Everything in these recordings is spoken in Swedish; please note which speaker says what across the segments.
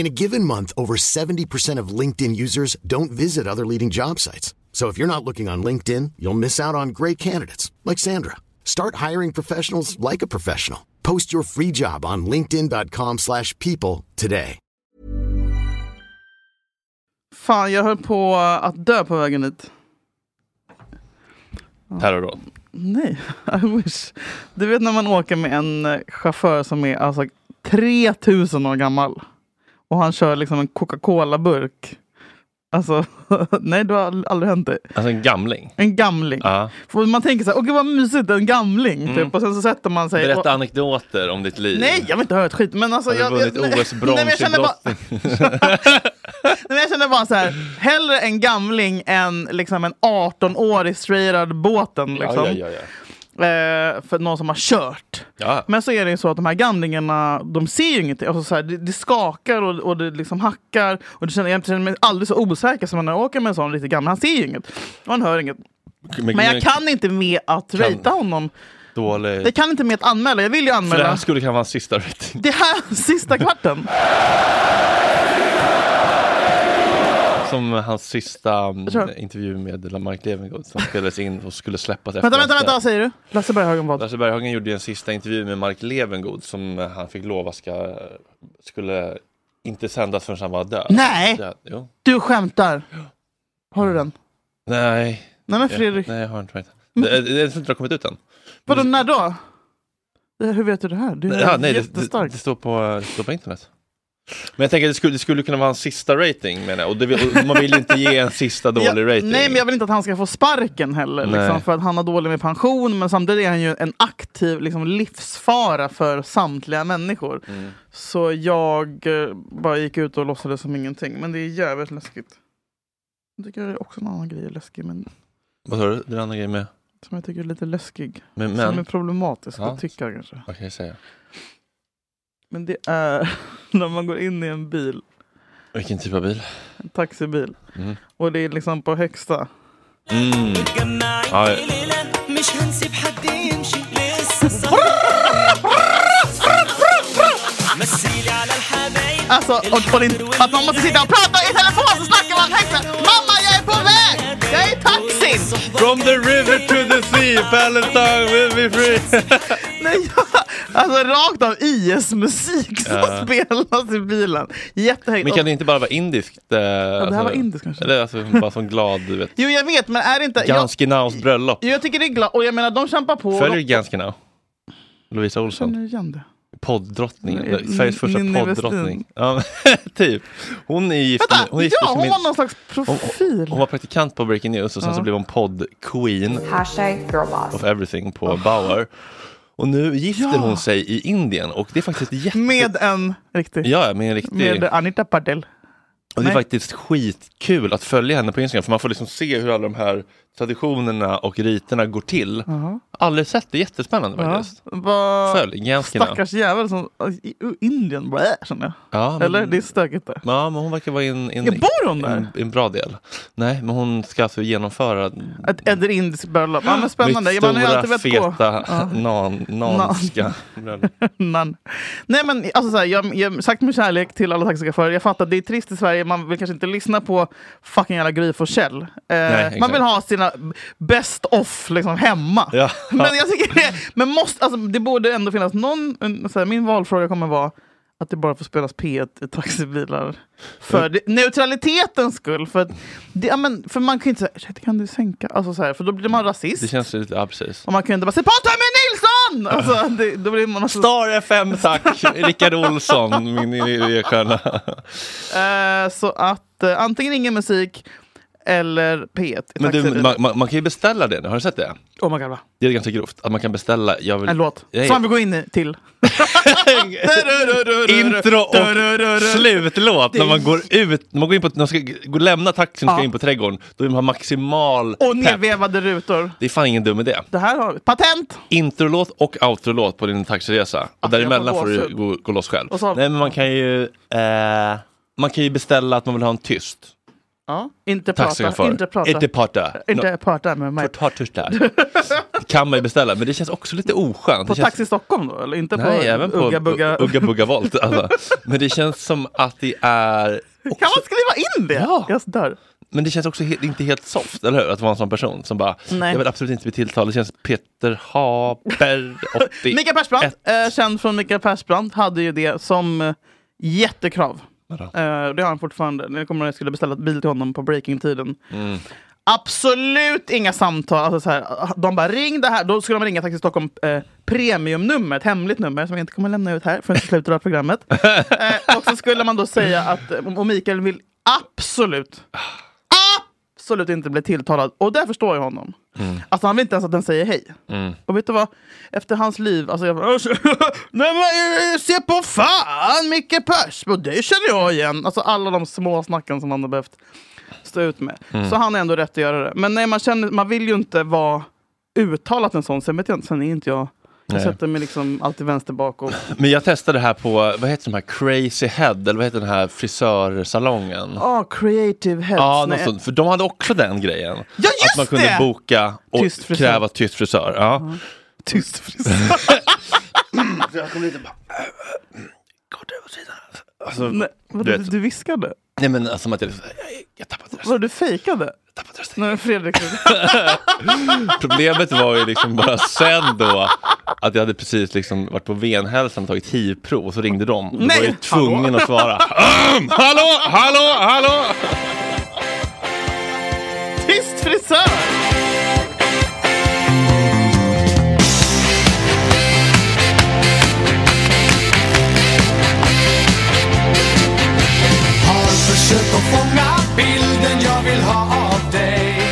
Speaker 1: In a given month, over 70% of LinkedIn users don't visit other leading job sites. So if you're not looking on LinkedIn, you'll miss out on great candidates like Sandra. Start hiring professionals like a professional. Post your free job on linkedin.com/people slash people today.
Speaker 2: Fan, jag höll på att dö på vägen hit.
Speaker 3: Terrordåd.
Speaker 2: Nej, I wish. Du vet när man åker med en eh, chaufför som är alltså 3000 år gammal. Och han kör liksom en Coca-Cola-burk. Alltså, nej det har ald- aldrig hänt det.
Speaker 3: Alltså en gamling.
Speaker 2: En gamling.
Speaker 3: Ja. Mm.
Speaker 2: För man tänker så här, åh gud vad mysigt, en gamling. Typ. Och sen så sätter man sig.
Speaker 3: Berätta
Speaker 2: och,
Speaker 3: anekdoter om ditt liv.
Speaker 2: nej, jag vill inte höra ett skit. Men alltså,
Speaker 3: Har du
Speaker 2: jag,
Speaker 3: vunnit
Speaker 2: jag, nej, nej, men
Speaker 3: OS-brons
Speaker 2: jag
Speaker 3: i
Speaker 2: känner bara, nej,
Speaker 3: brottning?
Speaker 2: men jag känner bara så här, hellre en gamling än liksom en 18-årig straighad båten. Liksom.
Speaker 3: Ja, ja, ja, ja.
Speaker 2: Eh, för någon som har kört.
Speaker 3: Ja.
Speaker 2: Men så är det ju så att de här gamlingarna, de ser ju ingenting. Alltså så här, det, det skakar och, och det liksom hackar. Och det känner, jag känner mig aldrig så osäker som när jag åker med en sån riktigt gammal. Han ser ju inget. Och han hör inget. Men jag kan inte med att ratea honom.
Speaker 3: Dålig.
Speaker 2: Jag kan inte med att anmäla. Jag vill ju
Speaker 3: För det här
Speaker 2: anmäla.
Speaker 3: skulle kunna vara hans sista rating.
Speaker 2: Det här sista kvarten.
Speaker 3: Som hans sista mm,
Speaker 2: tror-
Speaker 3: intervju med Mark Levengood som spelades in och skulle släppas efter.
Speaker 2: Vänta, vänta, vänta. Vad säger du? Lasse Berghagen vad?
Speaker 3: Lasse Berghagen gjorde ju en sista intervju med Mark Levengood som eh, han fick lova ska, skulle inte sändas förrän han var död.
Speaker 2: Nej!
Speaker 3: Död, jo.
Speaker 2: Du skämtar. Har du den?
Speaker 3: Nej.
Speaker 2: Nej men
Speaker 3: jag-
Speaker 2: Fredrik.
Speaker 3: Nej, jag har inte varit. Det, det, jag tror inte det har kommit ut än.
Speaker 2: Vadå, när då? Det- Hur vet du det här? Du är
Speaker 3: Ja, nej, det, det,
Speaker 2: jättestark.
Speaker 3: det, står på, det står på internet. Men jag tänker att det skulle, det skulle kunna vara hans sista rating menar jag. Och, det, vill- och man vill ju inte ge en sista dålig
Speaker 2: Ja,
Speaker 3: rating.
Speaker 2: Nej, men jag vill inte att han ska få sparken heller.
Speaker 3: Nej.
Speaker 2: Liksom, för att han har dålig med pension, men samtidigt är han ju en aktiv liksom, livsfara för samtliga människor.
Speaker 3: Mm.
Speaker 2: Så jag eh, bara gick ut och låtsades som ingenting. Men det är jävligt läskigt. Jag tycker det är också en annan grej är läskig, men
Speaker 3: Vad sa du? Den andra grejen med?
Speaker 2: som jag tycker är lite läskig.
Speaker 3: Men,
Speaker 2: Som är
Speaker 3: men.
Speaker 2: problematisk
Speaker 3: Ja.
Speaker 2: att tycka kanske.
Speaker 3: Vad kan jag säga?
Speaker 2: Men det är när man går in i en bil,
Speaker 3: Vilken typ av bil?
Speaker 2: en taxibil,
Speaker 3: Mm.
Speaker 2: och det är liksom på högsta.
Speaker 3: Mm. Ja, ja.
Speaker 2: Alltså, och, och det- att man måste sitta och prata i telefon så snackar man högt. Mamma, jag är på väg! Jag är i taxin!
Speaker 3: From the river to the sea, Palestine will be free.
Speaker 2: Nej, jag, alltså rakt av IS-musik som
Speaker 3: Ja.
Speaker 2: spelas i bilen. Jättehögt.
Speaker 3: Men kan det inte bara vara indiskt? ja,
Speaker 2: här var indiskt kanske.
Speaker 3: Eller alltså, bara som glad, du vet.
Speaker 2: Jo, jag vet, men är det inte... Jag,
Speaker 3: Ganskinaus bröllop.
Speaker 2: jag tycker det är glatt. Och jag menar, de kämpar på.
Speaker 3: Följer du
Speaker 2: de,
Speaker 3: Ganskinau? Lovisa Olsson?
Speaker 2: känner igen det.
Speaker 3: Poddrottningen,
Speaker 2: Nej,
Speaker 3: eller Sveriges första
Speaker 2: Ninni Westin.
Speaker 3: poddrottning. Ja, men typ. Hon är gift
Speaker 2: Vänta!
Speaker 3: med, hon är gift
Speaker 2: ja,
Speaker 3: med
Speaker 2: hon
Speaker 3: min,
Speaker 2: var någon slags
Speaker 3: hon,
Speaker 2: profil.
Speaker 3: hon, hon var praktikant på Breaking News och sen så blev hon podd-queen
Speaker 4: Hashtag girlboss.
Speaker 3: of everything på Bauer. Och nu gifter
Speaker 2: Ah. Ja.
Speaker 3: hon sig i Indien och det är faktiskt jätte...
Speaker 2: Med en riktig.
Speaker 3: Ja, med en riktig...
Speaker 2: med Anita Patel.
Speaker 3: och det är
Speaker 2: nej.
Speaker 3: faktiskt skitkul att följa henne på Instagram för man får liksom se hur alla de här traditionerna och riterna går till. Aldrig sett det, jättespännande faktiskt.
Speaker 2: Vad-
Speaker 3: Följ Ganskinau.
Speaker 2: Stackars jävel som... i- i Indien, blä, känner jag.
Speaker 3: Ja, men- Mm.
Speaker 2: Eller? Det är stökigt där.
Speaker 3: Ja, men hon verkar vara i en, i en,
Speaker 2: Jag bor hon där?
Speaker 3: en, en bra del. Nej, men hon ska alltså genomföra
Speaker 2: Ett, ett indiskt bröllop. Ja, men spännande.
Speaker 3: mitt
Speaker 2: Jag bara, nu har jag
Speaker 3: stora,
Speaker 2: alltid velat gå.
Speaker 3: feta, nan, nanska bröllop.
Speaker 2: Nan. Nej men alltså så här, jag, jag sagt med kärlek till alla taxichaufförer. Jag fattar att det är trist i Sverige, man vill kanske inte lyssna på fucking alla Gry Forssell. Eh,
Speaker 3: exakt.
Speaker 2: man vill ha sina best off liksom hemma.
Speaker 3: Ja.
Speaker 2: Men jag tycker det, men måste, alltså, det borde ändå finnas någon, en, så här, min valfråga kommer vara att det bara får spelas P1 i taxibilar. För det, neutralitetens skull. För, att, det, ja, men, för man kan ju inte säga, "Ursäkta, kan du sänka? Alltså, så här, för då blir man rasist.
Speaker 3: Det känns lite, ja precis.
Speaker 2: Och man kunde bara säga på Tommy Nilsson! fan! Alltså, det, då blir man alltså,
Speaker 3: Star FM tack, Rickard Olsson, min idéstjärna.
Speaker 2: eh, så att eh, antingen ingen musik eller P1 i
Speaker 3: Men du,
Speaker 2: taxibilen.
Speaker 3: man, man, man kan ju beställa det nu, har du sett det?
Speaker 2: Oh my god va?
Speaker 3: Det är ganska grovt, att man kan beställa... Jag vill...
Speaker 2: En låt
Speaker 3: Nej.
Speaker 2: som vi går in i till.
Speaker 3: Intro och slutlåt när man går ut, när man går in på, när man ska gå och lämna taxin och ska
Speaker 2: Ja.
Speaker 3: in på trädgården, då vill man ha maximal
Speaker 2: Och
Speaker 3: pepp.
Speaker 2: nedvevade rutor.
Speaker 3: Det är fan ingen dum idé.
Speaker 2: Det här har vi. Patent!
Speaker 3: Introlåt och outrolåt på din taxiresa. Och
Speaker 2: Alltså, jag får
Speaker 3: däremellan får du
Speaker 2: gåshud.
Speaker 3: gå, gå loss själv.
Speaker 2: Och så-
Speaker 3: Nej men man kan ju... Eh, man kan ju beställa att man vill ha en tyst
Speaker 2: Ja. Inte prata.
Speaker 3: taxichaufför.
Speaker 2: Inte prata.
Speaker 3: Inte prata.
Speaker 2: Inte
Speaker 3: No,
Speaker 2: prata med mig.
Speaker 3: prata tyst där. Det kan man ju beställa, men det känns också lite oskönt.
Speaker 2: På
Speaker 3: det känns...
Speaker 2: Taxi Stockholm då? Eller inte
Speaker 3: Nej,
Speaker 2: på
Speaker 3: även på
Speaker 2: Ugga Bugga?
Speaker 3: Ugga Bugga Volt. Alltså. Men det känns som att det är... Också,
Speaker 2: Kan man skriva in det?
Speaker 3: Ja.
Speaker 2: Jag dör.
Speaker 3: Men det känns också he- inte helt soft, eller hur? Att vara en sån person som bara,
Speaker 2: Nej.
Speaker 3: jag vill absolut inte bli tilltalad. Det känns Peter Haber, 80.
Speaker 2: Mikael Persbrandt,
Speaker 3: Ett.
Speaker 2: eh, känd från Mikael Persbrandt, hade ju det som eh, jättekrav. Eh, det har han fortfarande. När jag kommer ihåg att jag skulle beställa ett bil till honom på breaking-tiden. Absolut inga samtal. Alltså så här, de bara ring det här. Då skulle de ringa Taxi Stockholm eh, premiumnummer, ett hemligt nummer som jag inte kommer lämna ut här förrän i slutet av programmet. eh, och så skulle man då säga att eh, och Mikael vill absolut, absolut inte bli tilltalad. Och där förstår jag honom. Alltså han vill inte ens att den säger hej. Och vet du vad? Efter hans liv, alltså jag bara, "Usch, Nej men eh, se på fan Micke Persbrandt, det känner jag igen. Alltså alla de små snacken som han har behövt stå ut med.
Speaker 3: Mm.
Speaker 2: Så han är ändå rätt att göra det. Men nej, man, känner, man vill ju inte vara uttalat en sån. Sen vet jag inte, sen är inte jag... Jag
Speaker 3: Nej.
Speaker 2: sätter mig liksom alltid vänster bak och...
Speaker 3: Men jag testade det här på, vad heter de här, Crazy Head, eller vad heter den här frisörsalongen?
Speaker 2: Ah, creative heads.
Speaker 3: Ja,
Speaker 2: Nej.
Speaker 3: något sånt. För de hade också den grejen.
Speaker 2: Ja, just
Speaker 3: att man kunde
Speaker 2: det!
Speaker 3: boka och
Speaker 2: Tyst frisör.
Speaker 3: kräva tyst frisör. Ja.
Speaker 2: Tyst frisör.
Speaker 3: Alltså,
Speaker 2: Nej, vadå,
Speaker 3: Du
Speaker 2: du,
Speaker 3: vet.
Speaker 2: du viskade?
Speaker 3: nej men alltså, som att jag, jag, jag tappade rösten.
Speaker 2: Vadå, du fejkade?
Speaker 3: Tappade rösten.
Speaker 2: Nej, men Fredrik.
Speaker 3: Problemet var ju liksom bara sen då att jag hade precis liksom varit på venhälsan och tagit hivprov och så ringde de. Och då var
Speaker 2: Nej,
Speaker 3: jag ju tvungen att svara. Ahem, hallå, hallå, hallå!
Speaker 2: Tyst frisör!
Speaker 4: Har försökt att fånga bilden jag vill ha av dig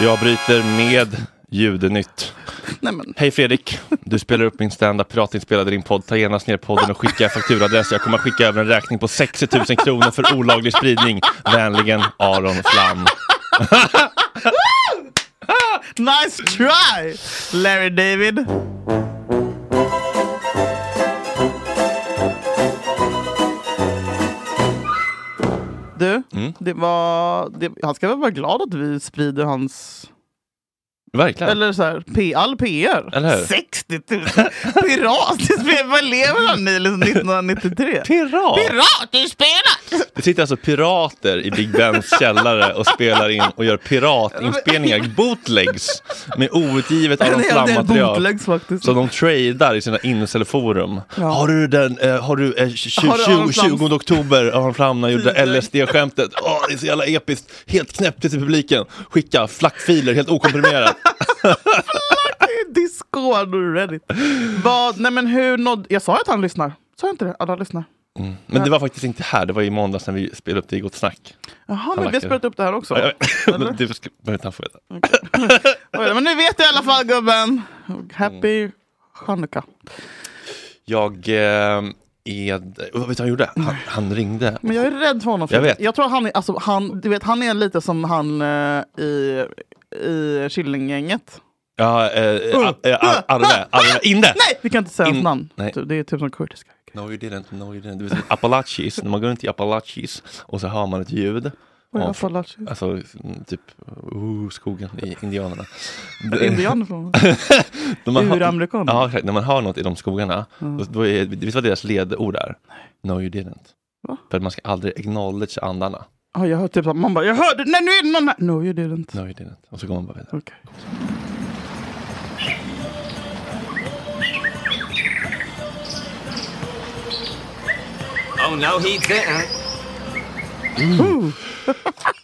Speaker 3: Jag bryter med Judenytt.
Speaker 2: Nej, men.
Speaker 3: Hej Fredrik, du spelar upp min standup piratinspelad i din podd. Ta genast ner podden och skicka fakturaadress. Jag kommer att skicka över en räkning på 60 000 kronor för olaglig spridning. Vänligen Aron Flam.
Speaker 2: Nice try! Larry David. Du,
Speaker 3: Mm.
Speaker 2: det var, det, han ska väl vara glad att vi sprider hans...
Speaker 3: Verkligen.
Speaker 2: Eller så här, P, all PR.
Speaker 3: Eller hur?
Speaker 2: 60 000! Piratspel! Vad lever han i liksom 1993?
Speaker 3: Pirat!
Speaker 2: Piratspelet!
Speaker 3: Det sitter alltså pirater i Big Bens källare och spelar in och gör piratinspelningar, bootlegs, med outgivet Aron
Speaker 2: Det är en del
Speaker 3: Flam-material.
Speaker 2: bootlegs faktiskt.
Speaker 3: Som de tradar i sina incelforum. Har du den, eh, har du, eh, tju-
Speaker 2: Har du Aron
Speaker 3: tju-
Speaker 2: Flams-
Speaker 3: 20 oktober, Aron Flam när han gjorde
Speaker 2: Tider.
Speaker 3: LSD-skämtet. Åh, det är så jävla episkt, helt knäppt i publiken. Skicka flackfiler, helt okomprimerat.
Speaker 2: Discord och Reddit. Vad, nej men hur nådde... Jag sa att han lyssnar. Sa jag inte det? Att han lyssnar.
Speaker 3: Men det var faktiskt inte här, det var i måndags när vi spelade upp det i Gott Snack.
Speaker 2: Jaha, men vi har
Speaker 3: lackar.
Speaker 2: spelat upp det här också.
Speaker 3: Ja, jag-
Speaker 2: Eller?
Speaker 3: Men det ska- behöver inte han få veta.
Speaker 2: Oj, men nu vet jag i alla fall gubben.
Speaker 3: Mm.
Speaker 2: Happy Chanukka.
Speaker 3: Jag eh, är... Och Vet du vad han gjorde? Han, han ringde.
Speaker 2: Men jag är rädd för honom.
Speaker 3: Jag vet.
Speaker 2: jag tror att han är, alltså, han, du vet, han är lite som han eh, i, i Killinggänget.
Speaker 3: Ja, eh, uh,
Speaker 2: Uh,
Speaker 3: Arve, Arve, Inde!
Speaker 2: Ah, Nej, vi kan inte säga hans
Speaker 3: In-
Speaker 2: namn.
Speaker 3: nej.
Speaker 2: Du, Det är typ som kurdiska.
Speaker 3: No you didn't, no you didn't. Du vet, Appalachis, när man går runt i Appalachis och så hör man ett ljud.
Speaker 2: Oj,
Speaker 3: Ja,
Speaker 2: jag får lärt sig.
Speaker 3: Alltså typ uh, skogen i Indianerna.
Speaker 2: Indian från...
Speaker 3: När man hör-
Speaker 2: Uramerikan.
Speaker 3: Ja, exakt. När man hör något i de skogarna,
Speaker 2: Mm.
Speaker 3: då, då är, vet du vad deras ledord är? No you didn't.
Speaker 2: Va?
Speaker 3: För att man ska aldrig acknowledge andarna.
Speaker 2: Ja, jag hör typ att man bara, jag hörde, nej nu är det någon här. No you didn't.
Speaker 3: No you didn't. Och så går man bara vidare.
Speaker 2: Okej.
Speaker 5: Oh, no, he didn't.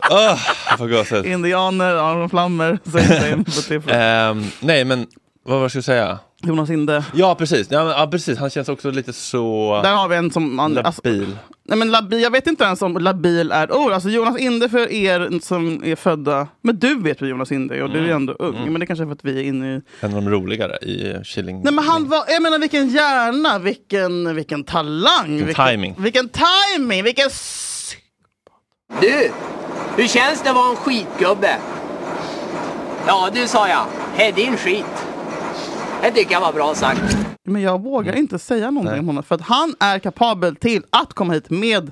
Speaker 3: Ah, på gåset.
Speaker 2: Indianer, Aron Flammer, säger in på Tiffany.
Speaker 3: Ehm, nej, men vad var jag skulle säga?
Speaker 2: Jonas Inde.
Speaker 3: Ja, precis. Ja, men, ja, precis. Han känns också lite så...
Speaker 2: Där har vi en som... Man, alltså,
Speaker 3: Labil.
Speaker 2: nej men labil, jag vet inte ens om labil är ett ord. Alltså Jonas Inde för er som är födda... Men du vet vad Jonas Inde är och
Speaker 3: Mm.
Speaker 2: du är ändå ung. Men det kanske är för att vi är inne i...
Speaker 3: En av de roligare i eh, Killing.
Speaker 2: Nej men han var, jag menar vilken hjärna, vilken, vilken talang. Vilken,
Speaker 3: timing.
Speaker 2: Vilken timing, vilken... s-
Speaker 6: Du, hur känns det att vara en skitgubbe? Ja du, sa jag. Hej din skit. Det tycker jag var bra sagt.
Speaker 2: Men jag vågar
Speaker 3: Mm.
Speaker 2: inte säga någonting om honom. För att han är kapabel till att komma hit med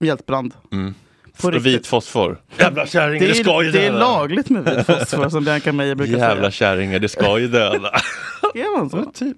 Speaker 2: mjältbrand.
Speaker 3: Mm.
Speaker 2: På
Speaker 3: Och
Speaker 2: riktigt.
Speaker 3: vit fosfor. Jävla kärring,
Speaker 2: Det är, det är lagligt med vit fosfor som Bianca Meijer brukar
Speaker 3: Jävla
Speaker 2: säga.
Speaker 3: kärringar, det ska ju döda.
Speaker 2: Skrev hon så?
Speaker 3: typ.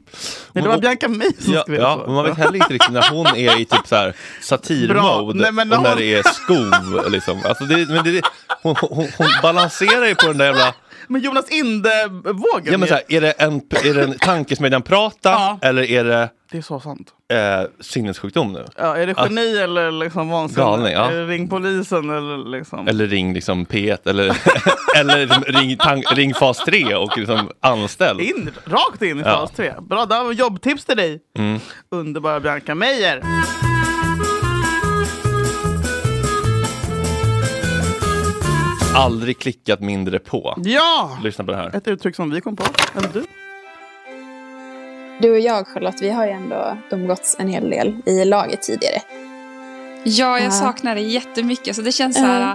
Speaker 2: Nej, det var Bianca Meijer som
Speaker 3: Ja,
Speaker 2: skrev
Speaker 3: ja,
Speaker 2: så.
Speaker 3: men man vet heller inte riktigt när hon är i typ så här
Speaker 2: Bra.
Speaker 3: satirmode
Speaker 2: Nej, men
Speaker 3: och när
Speaker 2: hon-
Speaker 3: det är skov. Liksom. Alltså det, men det, hon, hon, hon balanserar ju på den där jävla...
Speaker 2: Men Jonas Inde-vågen.
Speaker 3: Ja, men så här, är det en, är det en tankesmedjan-prata
Speaker 2: Ja.
Speaker 3: eller är det
Speaker 2: Det är så sant.
Speaker 3: eh, sinnessjukdom nu?
Speaker 2: Ja, är det geni eller liksom vansinne?
Speaker 3: Galning, ja.
Speaker 2: Är det ring polisen eller liksom?
Speaker 3: Eller ring liksom P1 eller, eller liksom ring, tank, ring fas 3 och liksom anställ.
Speaker 2: In, rakt in i
Speaker 3: Ja. Mm.
Speaker 2: fas 3. Bra, där var jobbtips till dig. Underbara Bianca Meijer.
Speaker 3: Aldrig klickat mindre på.
Speaker 2: Ja!
Speaker 3: Lyssna på det här.
Speaker 2: Ett uttryck som vi kom på. Eller du?
Speaker 7: Du och jag, Charlotte, vi har ju ändå umgåtts en hel del i laget tidigare.
Speaker 8: Ja,
Speaker 7: Ja.
Speaker 8: jag saknar det jättemycket. Så det känns så här,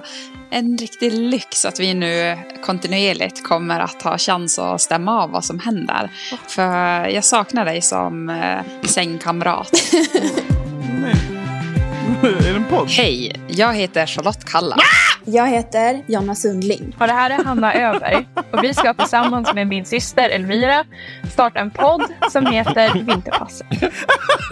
Speaker 8: en riktig lyx att vi nu kontinuerligt kommer att ha chans att stämma av vad som händer. För jag saknar dig som eh, sängkamrat.
Speaker 2: är det en podd?
Speaker 8: Hej, jag heter Charlotte Kalla.
Speaker 7: Jag heter Jonna Sundling.
Speaker 9: Och det här är Hanna Öberg och vi ska tillsammans med min syster Elvira starta en podd som heter Vinterpasset.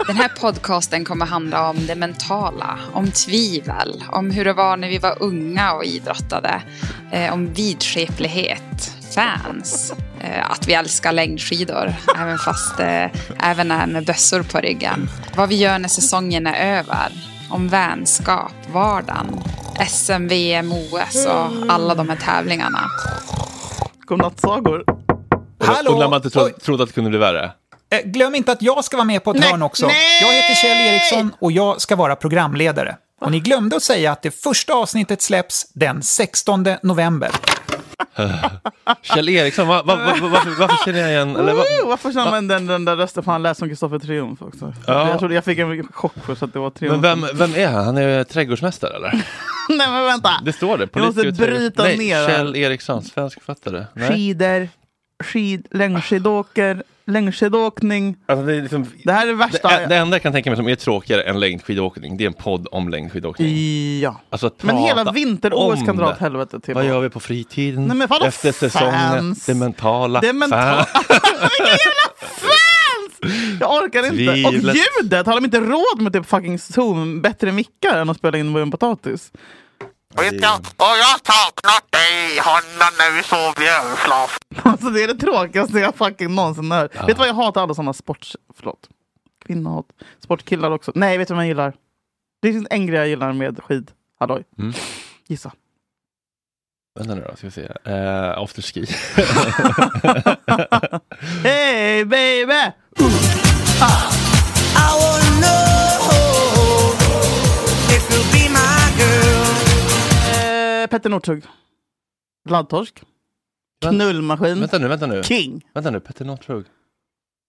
Speaker 8: Den här podcasten kommer handla om det mentala, om tvivel, om hur det var när vi var unga och idrottade, eh, om vidskeplighet, fans, eh, att vi älskar längdskidor, även fast eh, även när med bössor på ryggen, vad vi gör när säsongen är över, om vänskap, vardagen, SM, VM, OS och alla de här tävlingarna.
Speaker 2: Godnattsagor.
Speaker 3: Och, och när man inte tro, trodde att det kunde bli värre.
Speaker 6: Eh, glöm inte att jag ska vara med på ett
Speaker 2: Nej,
Speaker 6: hörn också.
Speaker 2: nej!
Speaker 6: Jag heter Kjell Eriksson och jag ska vara programledare. Och ni glömde att säga att det första avsnittet släpps den 16 november.
Speaker 3: Kjell Eriksson, va, va, va, varför, varför känner jag igen... Eller, va,
Speaker 2: Woo, varför känner man den, den där rösten? För han lät som Kristoffer Triumf också.
Speaker 3: Ja.
Speaker 2: Jag, trodde, jag fick en chock för att det var Triumf.
Speaker 3: men vem, vem är han? Han är ju trädgårdsmästare eller?
Speaker 2: Nej men vänta!
Speaker 3: Det står det.
Speaker 2: Jag måste
Speaker 3: Politiker och trädgårds-
Speaker 2: bryta
Speaker 3: Nej,
Speaker 2: ner
Speaker 3: Kjell Eriksson, svensk författare. Nej.
Speaker 2: Skidor, skid, längdskidåker, längdskidåkning.
Speaker 3: Alltså, det, är liksom,
Speaker 2: Det här är det värsta.
Speaker 3: det, det enda jag kan tänka mig som är tråkigare än längdskidåkning, det är en podd om längdskidåkning.
Speaker 2: Ja.
Speaker 3: Alltså, att
Speaker 2: Men
Speaker 3: prata
Speaker 2: hela vinter-OS
Speaker 3: om
Speaker 2: kan dra åt
Speaker 3: det.
Speaker 2: helvete till.
Speaker 3: Vad gör vi på fritiden?
Speaker 2: Nej, men vadå
Speaker 3: Efter säsongen?
Speaker 2: fans?
Speaker 3: Det mentala?
Speaker 2: Det är mentalt.
Speaker 3: Fan.
Speaker 2: Vilka jävla fans! Jag orkar inte. Och
Speaker 3: Tvivlet.
Speaker 2: ljudet! Har de inte råd med typ fucking Zoom, bättre mickar än att spela in med en potatis? Vet jag, och jag saknat dig Hanna när vi sov i Alltså det är det tråkigaste jag fucking någonsin hört. Vet du vad jag hatar? Alla sådana sports... Förlåt. Kvinnohat. Sportkillar också. Nej, vet du vad jag gillar? Det finns en grej jag gillar med skid. Halloj.
Speaker 3: Mm.
Speaker 2: Gissa.
Speaker 3: Vänta nu då, ska vi se. Uh, afterski.
Speaker 2: Hey baby! Eh, Petter Northug. Laddtorsk.
Speaker 3: Vänta-
Speaker 2: Knullmaskin.
Speaker 3: vänta nu, vänta nu.
Speaker 2: King.
Speaker 3: Vänta nu, Petter Northug.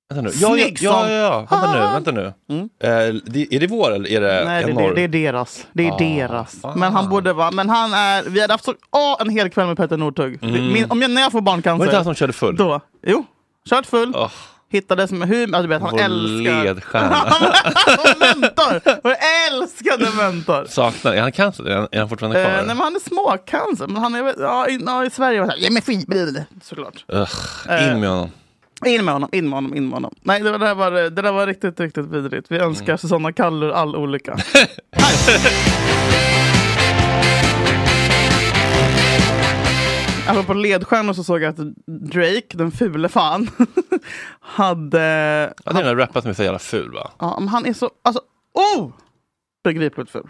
Speaker 3: Vänta nu.
Speaker 2: Snygg
Speaker 3: ja, ja,
Speaker 2: som
Speaker 3: ja, ja. Vänta
Speaker 2: fan.
Speaker 3: nu, vänta nu.
Speaker 2: Mm.
Speaker 3: Eh, det, är det vår eller är det
Speaker 2: Nej, det,
Speaker 3: Eh, en
Speaker 2: det,
Speaker 3: norr?
Speaker 2: det är deras. Det är
Speaker 3: Ah,
Speaker 2: deras.
Speaker 3: fan.
Speaker 2: Men han borde vara... Men han är... Vi hade haft så, åh, en hel kväll med Petter Northug. Det-
Speaker 3: Mm.
Speaker 2: Min, om jag, när jag får
Speaker 3: Var det inte han
Speaker 2: barncancer.
Speaker 3: som körde full?
Speaker 2: Då. Jo. Kört full.
Speaker 3: Åh,
Speaker 2: Hittades med hur... Alltså, du vet, han
Speaker 3: vår
Speaker 2: älskar...
Speaker 3: ledstjärna.
Speaker 2: Som mentor! Vår älskade mentor!
Speaker 3: Saknar, är han cancer? Är han, är han fortfarande
Speaker 2: Eh,
Speaker 3: kvar?
Speaker 2: nej, men han är småcancer, men han är väl- ja, i, ja, i Sverige var det såhär, ge mig skitbil! Såklart.
Speaker 3: Ugh, in med
Speaker 2: Eh.
Speaker 3: honom.
Speaker 2: In med honom, in med honom, in med honom. Nej, det, var- det, där, var, det där var riktigt, riktigt vidrigt. Vi önskar
Speaker 3: Mm.
Speaker 2: Susanna Kallur all olycka. Apropå ledstjärnor så såg jag att Drake, den fule fan, hade...
Speaker 3: Ja, det är den där rapparen som är så jävla ful va? Mm.
Speaker 2: Ja, men han är så alltså, oh! begripligt ful.